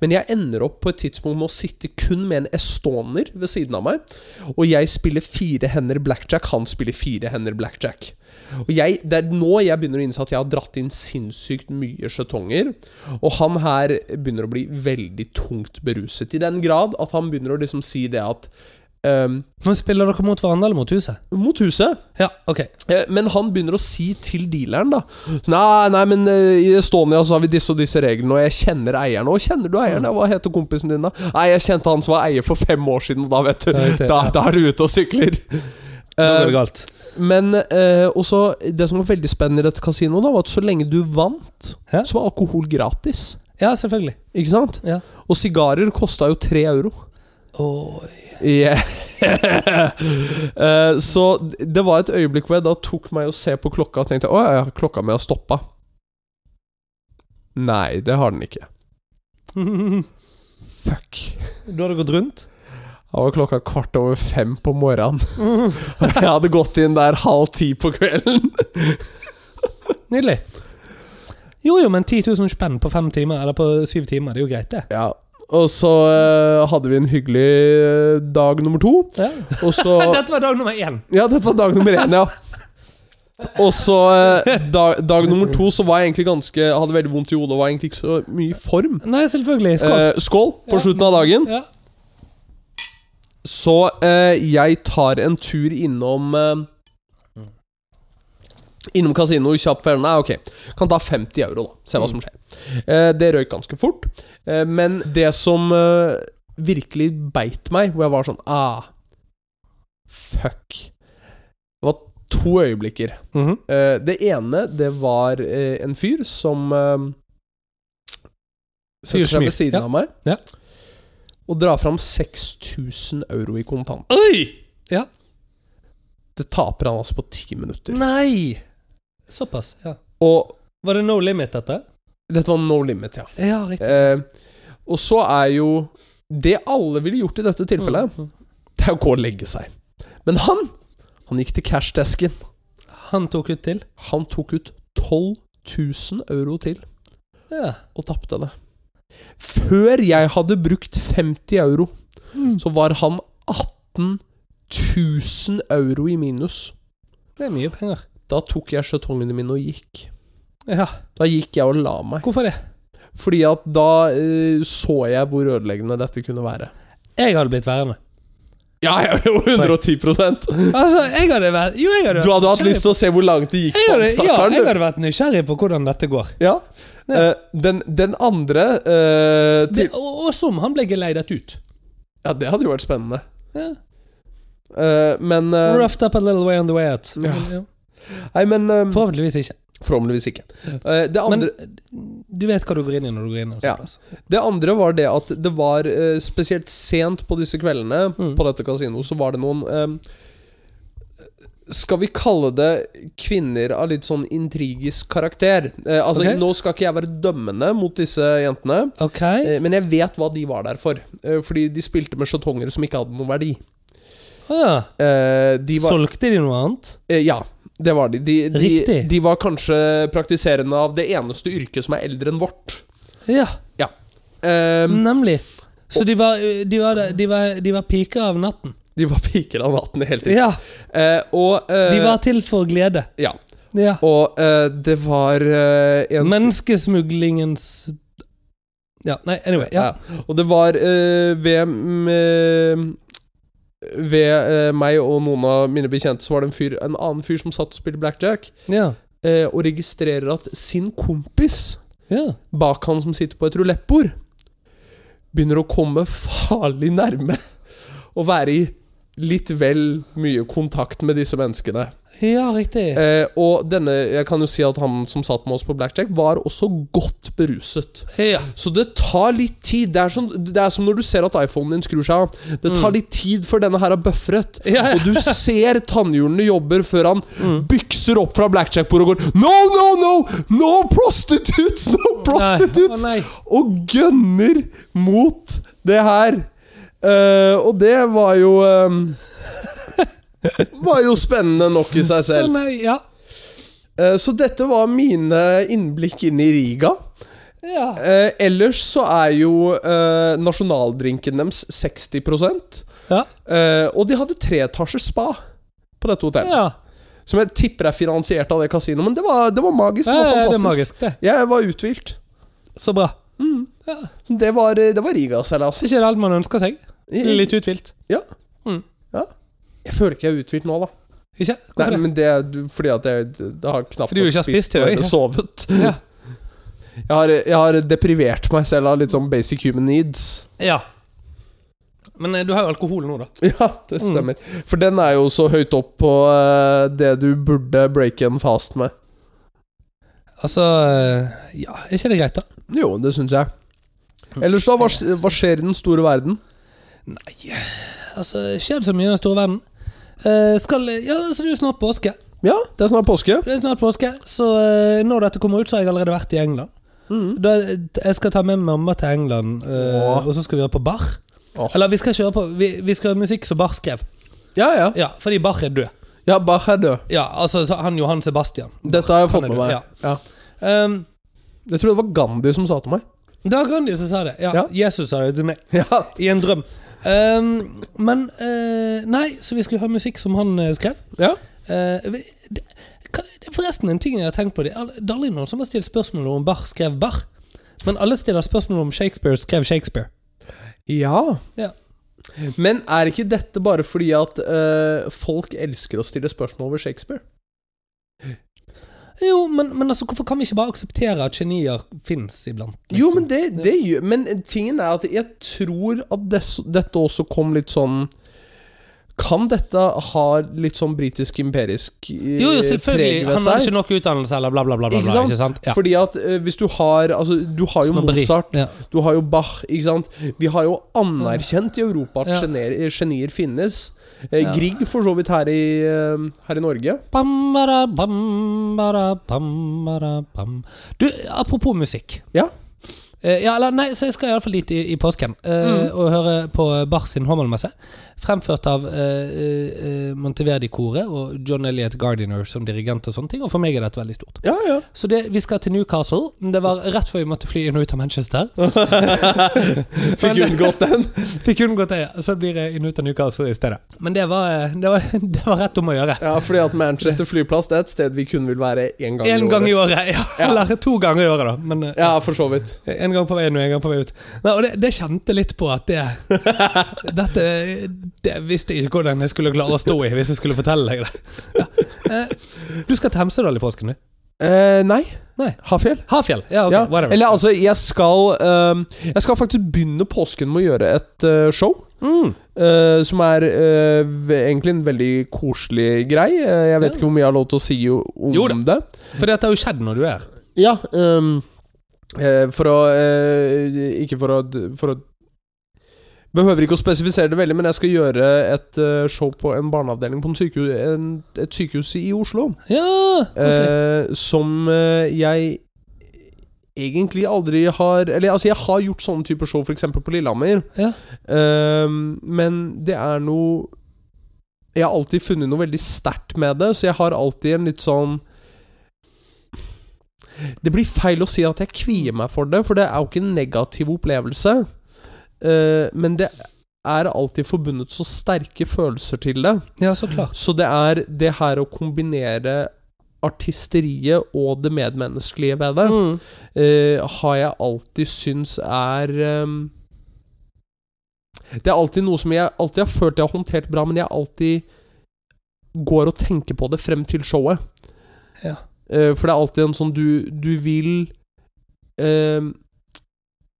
[SPEAKER 2] Men jeg ender opp på et tidspunkt med å sitte kun med en estoner ved siden av meg, og jeg spiller fire hender blackjack, han spiller fire hender blackjack. Og jeg, Det er nå jeg begynner å innse at jeg har dratt inn sinnssykt mye skjetonger. Og han her begynner å bli veldig tungt beruset, i den grad at han begynner å liksom si det at ehm,
[SPEAKER 1] Men Spiller dere mot hverandre eller mot huset?
[SPEAKER 2] Mot huset.
[SPEAKER 1] Ja, ok.
[SPEAKER 2] Eh, Men han begynner å si til dealeren, da så, Nei, nei, men eh, i Estonia så har vi disse og disse reglene, og jeg kjenner eieren. Og kjenner du
[SPEAKER 1] Mm.
[SPEAKER 2] eieren? da? Hva heter kompisen din, da? Nei, jeg kjente han som var eier for fem år siden, og da, vet
[SPEAKER 1] Ja,
[SPEAKER 2] du.
[SPEAKER 1] riktig,
[SPEAKER 2] Da,
[SPEAKER 1] ja.
[SPEAKER 2] da er du ute og sykler.
[SPEAKER 1] Da
[SPEAKER 2] Eh,
[SPEAKER 1] går det galt.
[SPEAKER 2] men eh, også det som var veldig spennende i dette kasinoet, da, var at så lenge du vant,
[SPEAKER 1] Ja.
[SPEAKER 2] så var alkohol gratis.
[SPEAKER 1] Ja, selvfølgelig.
[SPEAKER 2] Ikke sant?
[SPEAKER 1] Ja.
[SPEAKER 2] Og sigarer kosta jo tre euro.
[SPEAKER 1] Åh,
[SPEAKER 2] Yeah. Eh, så det var et øyeblikk hvor jeg da tok meg og se på klokka og tenkte Å ja, ja, klokka mi har stoppa. Nei, det har den ikke.
[SPEAKER 1] du
[SPEAKER 2] Fuck.
[SPEAKER 1] hadde gått rundt?
[SPEAKER 2] Da var klokka kvart over fem på morgenen. Og jeg hadde gått inn der halv ti på kvelden.
[SPEAKER 1] Nydelig. Jo jo, men 10 000 spenn på fem timer, eller på syv timer, det er jo greit, det.
[SPEAKER 2] Ja. Og så eh, hadde vi en hyggelig eh, dag nummer to.
[SPEAKER 1] Ja.
[SPEAKER 2] Og så
[SPEAKER 1] Dette var dag nummer én.
[SPEAKER 2] Ja, dette var dag nummer én, ja. Og så eh, dag, dag nummer to så var jeg egentlig ganske Hadde veldig vondt i hodet og var egentlig ikke så mye i form.
[SPEAKER 1] Nei, selvfølgelig. Skål.
[SPEAKER 2] Eh, skål på
[SPEAKER 1] Ja.
[SPEAKER 2] slutten av dagen.
[SPEAKER 1] ja.
[SPEAKER 2] Så eh, jeg tar en tur innom eh, Innom kasino kjapt før Nei, ok. Kan ta 50 euro, da. Se hva som skjer. Eh, det røyk ganske fort. Eh, men det som eh, virkelig beit meg, hvor jeg var sånn ah, Fuck. Det var to øyeblikker.
[SPEAKER 1] Mhm.
[SPEAKER 2] Eh, det ene, det var eh, en fyr som uh,
[SPEAKER 1] Fyr
[SPEAKER 2] Setter seg
[SPEAKER 1] smyr,
[SPEAKER 2] ved siden
[SPEAKER 1] ja.
[SPEAKER 2] av meg
[SPEAKER 1] Ja.
[SPEAKER 2] og drar fram 6000 euro i kontant.
[SPEAKER 1] Oi!
[SPEAKER 2] Det taper han altså på ti minutter.
[SPEAKER 1] Nei! Såpass, ja.
[SPEAKER 2] Og
[SPEAKER 1] Var det no limit, dette?
[SPEAKER 2] dette var no limit, ja.
[SPEAKER 1] Ja, riktig.
[SPEAKER 2] Eh, og så er jo Det alle ville gjort i dette tilfellet,
[SPEAKER 1] Mm.
[SPEAKER 2] det er å gå og legge seg. Men han, han gikk til cashdesken.
[SPEAKER 1] Han tok ut til?
[SPEAKER 2] Han tok ut 12 000 euro til.
[SPEAKER 1] Ja.
[SPEAKER 2] og tapte det. Før jeg hadde brukt 50 euro,
[SPEAKER 1] Mm.
[SPEAKER 2] så var han 18 000 euro i minus.
[SPEAKER 1] Det er mye penger.
[SPEAKER 2] Da tok jeg skjetongene mine og gikk.
[SPEAKER 1] Ja,
[SPEAKER 2] Da gikk jeg og la meg.
[SPEAKER 1] Hvorfor det?
[SPEAKER 2] Fordi at da eh, så jeg hvor ødeleggende dette kunne være.
[SPEAKER 1] Jeg hadde blitt værende.
[SPEAKER 2] Ja, jeg er jo 110 Du
[SPEAKER 1] Altså, jeg hadde vært Jo, jeg hadde vært
[SPEAKER 2] hadde hatt lyst til å se hvor langt det gikk
[SPEAKER 1] jeg
[SPEAKER 2] for
[SPEAKER 1] hadde,
[SPEAKER 2] den
[SPEAKER 1] Ja, jeg
[SPEAKER 2] stakkaren, du.
[SPEAKER 1] hadde vært nysgjerrig på hvordan dette går.
[SPEAKER 2] Ja. Eh, den, den andre eh, til,
[SPEAKER 1] Det, og, og som han ble geleidet ut.
[SPEAKER 2] Ja, det hadde jo vært spennende.
[SPEAKER 1] Ja.
[SPEAKER 2] Eh, men eh,
[SPEAKER 1] Roughed up a little way on the way out.
[SPEAKER 2] Ja. Nei, men eh,
[SPEAKER 1] Forhåpentligvis ikke.
[SPEAKER 2] Forhåpentligvis ikke. Eh, det,
[SPEAKER 1] Men
[SPEAKER 2] andre,
[SPEAKER 1] Mm. du vet hva du går inn i når du går inn.
[SPEAKER 2] Ja. det andre var det at det var eh, spesielt sent på disse kveldene
[SPEAKER 1] Mm.
[SPEAKER 2] på dette kasinoet, så var det noen eh, Skal vi kalle det kvinner av litt sånn intrigisk karakter? Eh, altså,
[SPEAKER 1] Ok.
[SPEAKER 2] Nå skal ikke jeg være dømmende mot disse jentene,
[SPEAKER 1] Ok.
[SPEAKER 2] eh, men jeg vet hva de var der for. Eh, fordi de spilte med skjetonger som ikke hadde noen verdi.
[SPEAKER 1] ja.
[SPEAKER 2] Eh, de var,
[SPEAKER 1] Solgte de noe annet?
[SPEAKER 2] eh, ja, det var de. De, de.
[SPEAKER 1] Riktig.
[SPEAKER 2] de var kanskje praktiserende av det eneste yrket som er eldre enn vårt.
[SPEAKER 1] Ja,
[SPEAKER 2] Eh,
[SPEAKER 1] Mm. nemlig. Så de var, de var, de var, de var piker av natten?
[SPEAKER 2] De var piker av natten, helt riktig.
[SPEAKER 1] Ja.
[SPEAKER 2] Eh, og eh,
[SPEAKER 1] De var til for glede.
[SPEAKER 2] Ja.
[SPEAKER 1] Ja.
[SPEAKER 2] Og eh, det var eh, en
[SPEAKER 1] Menneskesmuglingens Ja, nei, anyway. Ja.
[SPEAKER 2] Ja. Og det var eh, ved mm, eh, Ved eh, meg og noen av mine bekjente så var det en, fyr, en annen fyr som satt og spilte blackjack,
[SPEAKER 1] Ja.
[SPEAKER 2] eh, og registrerer at sin kompis
[SPEAKER 1] ja.
[SPEAKER 2] bak han som sitter på et rulettbord, begynner å komme farlig nærme og være i litt vel mye kontakt med disse menneskene.
[SPEAKER 1] Ja, riktig.
[SPEAKER 2] Eh, og denne, jeg kan jo si at han som satt med oss på blackjack, var også godt beruset.
[SPEAKER 1] Ja.
[SPEAKER 2] Så det tar litt tid. Det er, som, det er som når du ser at iPhonen din skrur seg av. Det tar litt tid før denne her har buffret.
[SPEAKER 1] Mm. Ja, Mm. ja.
[SPEAKER 2] Og du ser tannhjulene jobber før han bykser opp fra blackjack-bordet og går No, no, no! No prostitutes! No prostitutes!
[SPEAKER 1] Nei. Å, nei.
[SPEAKER 2] Og gønner mot det her. Eh, og det var jo eh, Var jo spennende nok i seg selv.
[SPEAKER 1] Å, nei, ja.
[SPEAKER 2] Eh, Så dette var mine innblikk inn i Riga.
[SPEAKER 1] ja.
[SPEAKER 2] Eh, ellers så er jo eh, nasjonaldrinken deres 60
[SPEAKER 1] Ja.
[SPEAKER 2] eh, Og de hadde treetasjers spa på dette hotellet.
[SPEAKER 1] ja.
[SPEAKER 2] Som jeg tipper er finansiert av det kasinoet, men det var, det var magisk.
[SPEAKER 1] Ja,
[SPEAKER 2] Det var
[SPEAKER 1] ja, det er
[SPEAKER 2] fantastisk.
[SPEAKER 1] magisk, det.
[SPEAKER 2] Jeg var uthvilt.
[SPEAKER 1] Så bra.
[SPEAKER 2] Så det var, det var Riga-seilas.
[SPEAKER 1] Så ikke det er alt man ønsker seg. Litt uthvilt.
[SPEAKER 2] Ja.
[SPEAKER 1] Mm.
[SPEAKER 2] ja. Jeg føler ikke jeg er uthvilt nå, da.
[SPEAKER 1] Ikke?
[SPEAKER 2] Nei,
[SPEAKER 1] Hvorfor det?
[SPEAKER 2] men det er du- fordi at jeg det har knapt
[SPEAKER 1] Fordi du
[SPEAKER 2] nok
[SPEAKER 1] ikke har spist i
[SPEAKER 2] og
[SPEAKER 1] dag,
[SPEAKER 2] ikke
[SPEAKER 1] ja.
[SPEAKER 2] sovet.
[SPEAKER 1] Ja.
[SPEAKER 2] Jeg, har, jeg har deprivert meg selv av litt sånn basic human needs.
[SPEAKER 1] Ja. Men eh, du har jo alkohol nå, da.
[SPEAKER 2] Ja, det stemmer. For den er jo så høyt opp på eh, det du burde break and fast med.
[SPEAKER 1] Altså eh, Ja, er ikke det greit, da?
[SPEAKER 2] Jo, det syns jeg. Ellers, da? Hva, sk- hva skjer i den store verden?
[SPEAKER 1] Nei Altså, skjer det så mye i den store verden? Eh, skal Ja, så det er jo snart påske.
[SPEAKER 2] Ja, det er snart påske.
[SPEAKER 1] Det er snart påske, så eh, når dette kommer ut, så har jeg allerede vært i England. Da, jeg skal ta med mamma til England, eh,
[SPEAKER 2] Åh.
[SPEAKER 1] og så skal vi høre på Bach.
[SPEAKER 2] Åh.
[SPEAKER 1] Eller vi skal ikke høre på Vi, vi skal høre musikk som Bach skrev.
[SPEAKER 2] Ja, ja.
[SPEAKER 1] Ja, fordi Bach er død.
[SPEAKER 2] Ja, Bach er død.
[SPEAKER 1] Ja, altså så han Johan Sebastian.
[SPEAKER 2] Dette har jeg
[SPEAKER 1] Han
[SPEAKER 2] fått
[SPEAKER 1] er
[SPEAKER 2] med
[SPEAKER 1] død,
[SPEAKER 2] meg.
[SPEAKER 1] ja.
[SPEAKER 2] Ja.
[SPEAKER 1] Um,
[SPEAKER 2] Jeg tror det var Gandhi som sa til meg.
[SPEAKER 1] det var Gandhi som sa det. Ja,
[SPEAKER 2] Ja.
[SPEAKER 1] Jesus sa det til meg.
[SPEAKER 2] Ja,
[SPEAKER 1] I en drøm. Um, men eh, Nei, så vi skal høre musikk som han eh, skrev.
[SPEAKER 2] ja.
[SPEAKER 1] Eh, vi- det, kan- det er forresten en ting jeg har tenkt på. Det er al- det er aldri noen som har stilt spørsmål om Bach skrev Bach. Men alle stiller spørsmål om Shakespeare skrev Shakespeare.
[SPEAKER 2] ja.
[SPEAKER 1] Ja.
[SPEAKER 2] Men er ikke dette bare fordi at eh, folk elsker å stille spørsmål over Shakespeare?
[SPEAKER 1] Jo, men, men altså, hvorfor kan vi ikke bare akseptere at genier fins iblant?
[SPEAKER 2] Jo,
[SPEAKER 1] liksom?
[SPEAKER 2] men det, det gjør Men tingen er at jeg tror at dess- dette også kom litt sånn Kan dette ha litt sånn britisk imperisk eh,
[SPEAKER 1] jo, jo, selvfølgelig.
[SPEAKER 2] preg ved
[SPEAKER 1] Han hadde
[SPEAKER 2] seg?
[SPEAKER 1] ikke nok utdannelse, eller bla, bla, bla. bla,
[SPEAKER 2] Ikke
[SPEAKER 1] bla
[SPEAKER 2] sant?
[SPEAKER 1] ikke sant? Ja.
[SPEAKER 2] Fordi at eh, hvis du har Altså, du har jo
[SPEAKER 1] Snobberi.
[SPEAKER 2] Mozart,
[SPEAKER 1] Ja.
[SPEAKER 2] du har jo Bach, ikke sant? Vi har jo anerkjent i Europa at
[SPEAKER 1] Ja.
[SPEAKER 2] genier, genier finnes. Eh,
[SPEAKER 1] Ja.
[SPEAKER 2] Grieg for så vidt her i, eh, her i Norge.
[SPEAKER 1] Bam, bara, bam, bara, bam, bara, bam. Du, apropos musikk.
[SPEAKER 2] Ja.
[SPEAKER 1] Eh, ja, eller nei, så jeg skal iallfall dit i, i påsken eh, og høre på Bach sin Hommelmesse. Fremført av eh, eh, Monteverdi-koret og John Elliot Gardiner som dirigent og sånne ting. Og for meg er dette veldig stort.
[SPEAKER 2] Ja, ja.
[SPEAKER 1] Så det, vi skal til Newcastle. Det var rett før vi måtte fly inn og ut av Manchester.
[SPEAKER 2] Fikk unngått den.
[SPEAKER 1] Fikk unngått det, ja. Så blir det inn og ut av Newcastle i stedet. Men det var, eh, det var, det var rett om å gjøre.
[SPEAKER 2] Ja, fordi at Manchester flyplass Det er et sted vi kun vil være én gang
[SPEAKER 1] Én
[SPEAKER 2] i
[SPEAKER 1] gang
[SPEAKER 2] året.
[SPEAKER 1] i året. Ja,
[SPEAKER 2] Ja.
[SPEAKER 1] eller to ganger i året, da. Men eh,
[SPEAKER 2] Ja, for så vidt.
[SPEAKER 1] En gang på vei inn og en gang på vei ut. Nei, og det, det kjente litt på at det Dette det visste jeg ikke hvordan jeg skulle klare å stå i hvis jeg skulle fortelle deg det. Ja. Eh, Du skal til Hemsedal i påsken, du.
[SPEAKER 2] Eh, nei.
[SPEAKER 1] Nei.
[SPEAKER 2] Hafjell.
[SPEAKER 1] Hafjell. Ja, ok,
[SPEAKER 2] ja.
[SPEAKER 1] whatever.
[SPEAKER 2] Eller altså, jeg skal ehm, Jeg skal faktisk begynne påsken med å gjøre et eh, show.
[SPEAKER 1] Mm.
[SPEAKER 2] eh, som er eh, ve- egentlig en veldig koselig grei. Eh, jeg vet
[SPEAKER 1] Ja.
[SPEAKER 2] ikke hvor mye jeg har lov til å si jo- om
[SPEAKER 1] Jo da.
[SPEAKER 2] det.
[SPEAKER 1] For dette har jo skjedd når du er her.
[SPEAKER 2] Ja, ehm, eh, for å eh, Ikke for å, for å Behøver ikke å spesifisere det veldig, men jeg skal gjøre et eh, show på en barneavdeling på en sykehu- en, et sykehus i Oslo.
[SPEAKER 1] Ja, koselig.
[SPEAKER 2] Eh, som eh, jeg egentlig aldri har Eller altså, jeg har gjort sånne typer show, f.eks. på Lillehammer.
[SPEAKER 1] Ja.
[SPEAKER 2] Eh, men det er noe Jeg har alltid funnet noe veldig sterkt med det, så jeg har alltid en litt sånn Det blir feil å si at jeg kvier meg for det, for det er jo ikke en negativ opplevelse. Eh, men det er alltid forbundet så sterke følelser til det.
[SPEAKER 1] ja, så klart.
[SPEAKER 2] Så det er det her å kombinere artisteriet og det medmenneskelige ved det,
[SPEAKER 1] Mm.
[SPEAKER 2] eh, har jeg alltid syns er ehm, Det er alltid noe som jeg alltid har følt jeg har håndtert bra, men jeg alltid går og tenker på det frem til showet.
[SPEAKER 1] Ja.
[SPEAKER 2] Eh, for det er alltid en sånn Du, du vil ehm,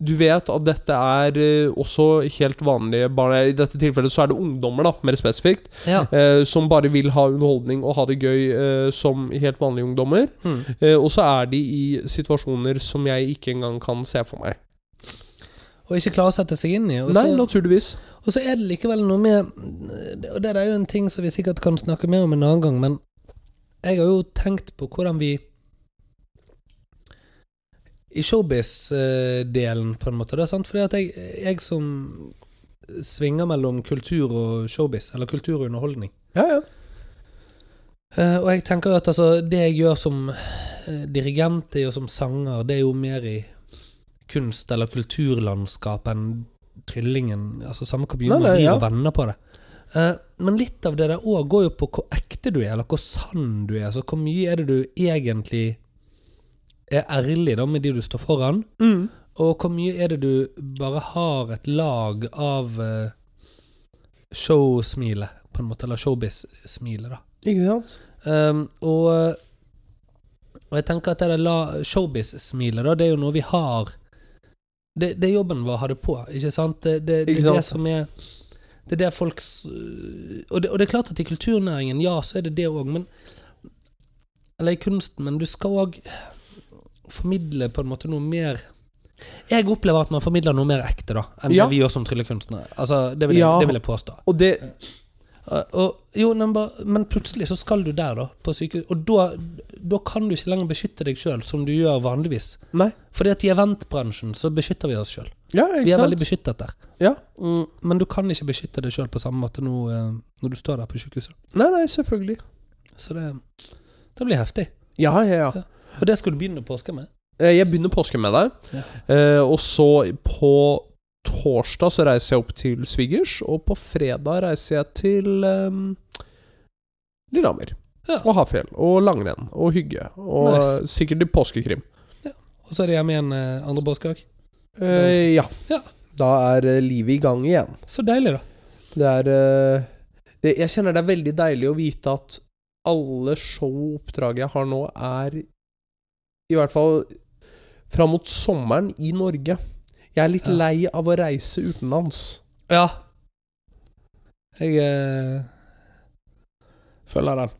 [SPEAKER 2] du vet at dette er eh, også helt vanlige barn. I dette tilfellet så er det ungdommer, da, mer spesifikt
[SPEAKER 1] Ja.
[SPEAKER 2] eh, som bare vil ha underholdning og ha det gøy eh, som helt vanlige ungdommer.
[SPEAKER 1] Mm.
[SPEAKER 2] Eh, og så er de i situasjoner som jeg ikke engang kan se for meg.
[SPEAKER 1] Og ikke klare å sette seg inn i. Og
[SPEAKER 2] Nei,
[SPEAKER 1] så,
[SPEAKER 2] naturligvis.
[SPEAKER 1] og så er det likevel noe med Og det er jo en ting som vi sikkert kan snakke mer om en annen gang, men jeg har jo tenkt på hvordan vi I showbiz-delen, på en måte. Da, sant? Fordi at jeg, jeg som svinger mellom kultur og showbiz, eller kultur og underholdning
[SPEAKER 2] Ja, ja.
[SPEAKER 1] Eh, Og jeg tenker jo at altså, det jeg gjør som eh, dirigent det jeg gjør som sanger, det er jo mer i kunst- eller kulturlandskap enn tryllingen. Altså samme hvor mye
[SPEAKER 2] Nei,
[SPEAKER 1] man
[SPEAKER 2] nei,
[SPEAKER 1] vrir
[SPEAKER 2] ja.
[SPEAKER 1] og vender på det. Eh, Men litt av det der òg går jo på hvor ekte du er, eller hvor sann du er. Altså hvor mye er det du egentlig er ærlig da med de du står foran,
[SPEAKER 2] Mm.
[SPEAKER 1] og hvor mye er det du bare har et lag av eh, showsmilet, på en måte, eller showbiz-smilet, da.
[SPEAKER 2] Ikke sant?
[SPEAKER 1] Um, og, og jeg tenker at det der la- showbiz-smilet, da, det er jo noe vi har Det, det er jobben vår å ha det på, ikke sant? Det, det, det,
[SPEAKER 2] Ikke
[SPEAKER 1] er
[SPEAKER 2] sant?
[SPEAKER 1] det som er Det er det folk s- og det, og det er klart at i kulturnæringen, ja, så er det det òg, men Eller i kunsten, men du skal òg formidle på en måte noe mer jeg opplever at man formidler noe mer ekte da enn
[SPEAKER 2] Ja.
[SPEAKER 1] det vi gjør som tryllekunstnere. Altså, det, vil jeg,
[SPEAKER 2] Ja.
[SPEAKER 1] det vil jeg påstå.
[SPEAKER 2] Og det
[SPEAKER 1] Uh, Og, jo, men, bare, men plutselig så skal du der, da, på sykehus. Og da, da kan du ikke lenger beskytte deg sjøl, som du gjør vanligvis.
[SPEAKER 2] Nei.
[SPEAKER 1] Fordi at i eventbransjen så beskytter vi oss sjøl.
[SPEAKER 2] Ja,
[SPEAKER 1] Vi
[SPEAKER 2] ikke
[SPEAKER 1] er veldig
[SPEAKER 2] sant?
[SPEAKER 1] beskyttet der.
[SPEAKER 2] Ja.
[SPEAKER 1] Mm, Men du kan ikke beskytte deg sjøl på samme måte nå, eh, når du står der på sykehuset.
[SPEAKER 2] Nei, nei, selvfølgelig.
[SPEAKER 1] Så det, det blir heftig.
[SPEAKER 2] Ja, ja, ja.
[SPEAKER 1] Og det skal du begynne påsken med.
[SPEAKER 2] Eh, Jeg begynner påsken med deg, eh, og så på torsdag så reiser jeg opp til svigers, og på fredag reiser jeg til ehm, Lillehammer.
[SPEAKER 1] Ja.
[SPEAKER 2] Og Hafjell. Og langrenn. Og hygge. Og
[SPEAKER 1] Nice.
[SPEAKER 2] sikkert til påskekrim.
[SPEAKER 1] Og så er det hjemme igjen eh, andre påskedag.
[SPEAKER 2] Eh, ja.
[SPEAKER 1] Ja.
[SPEAKER 2] Da er eh, livet i gang igjen.
[SPEAKER 1] Så deilig, da.
[SPEAKER 2] Det er eh, det, Jeg kjenner det er veldig deilig å vite at alle show og oppdrag jeg har nå, er I hvert fall fram mot sommeren i Norge. Jeg er litt
[SPEAKER 1] Ja.
[SPEAKER 2] lei av å reise utenlands.
[SPEAKER 1] Ja. Jeg eh, følger den.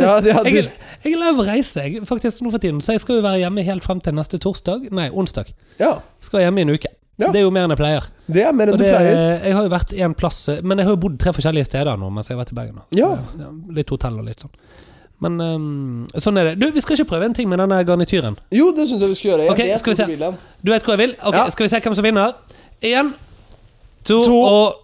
[SPEAKER 2] Ja, det- ja, du-
[SPEAKER 1] Jeg er, jeg er lei av å reise, jeg, faktisk, nå for tiden. Så jeg skal jo være hjemme helt frem til neste torsdag. Nei, onsdag.
[SPEAKER 2] ja,
[SPEAKER 1] Skal være hjemme i en uke.
[SPEAKER 2] Ja.
[SPEAKER 1] Det er jo mer enn jeg pleier.
[SPEAKER 2] det er mer
[SPEAKER 1] Og
[SPEAKER 2] enn du
[SPEAKER 1] det,
[SPEAKER 2] pleier.
[SPEAKER 1] jeg har jo vært en plass Men jeg har jo bodd tre forskjellige steder nå mens jeg har vært i Bergen. nå. Så
[SPEAKER 2] Ja.
[SPEAKER 1] det- ja, Litt hotell og litt sånn. Men ehm, sånn er det. Du, vi skal ikke prøve en ting med denne garnityren.
[SPEAKER 2] Jo, det syns jeg vi skal gjøre. Jeg
[SPEAKER 1] Ok,
[SPEAKER 2] vet
[SPEAKER 1] skal vi
[SPEAKER 2] hvor
[SPEAKER 1] se.
[SPEAKER 2] du vil hen.
[SPEAKER 1] Du vet hvor jeg vil? Ok,
[SPEAKER 2] Ja.
[SPEAKER 1] Skal vi se hvem som vinner? Én, to,
[SPEAKER 2] To.
[SPEAKER 1] og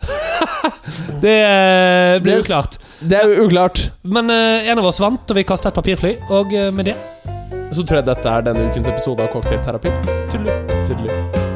[SPEAKER 1] Det eh, blir
[SPEAKER 2] Yes.
[SPEAKER 1] uklart.
[SPEAKER 2] Det er jo uklart.
[SPEAKER 1] Men eh, en av oss vant, og vi kastet et papirfly. Og eh, med det
[SPEAKER 2] Så tror jeg dette er denne ukens episode av Cocktailterapi. Tudelu. Tudelu.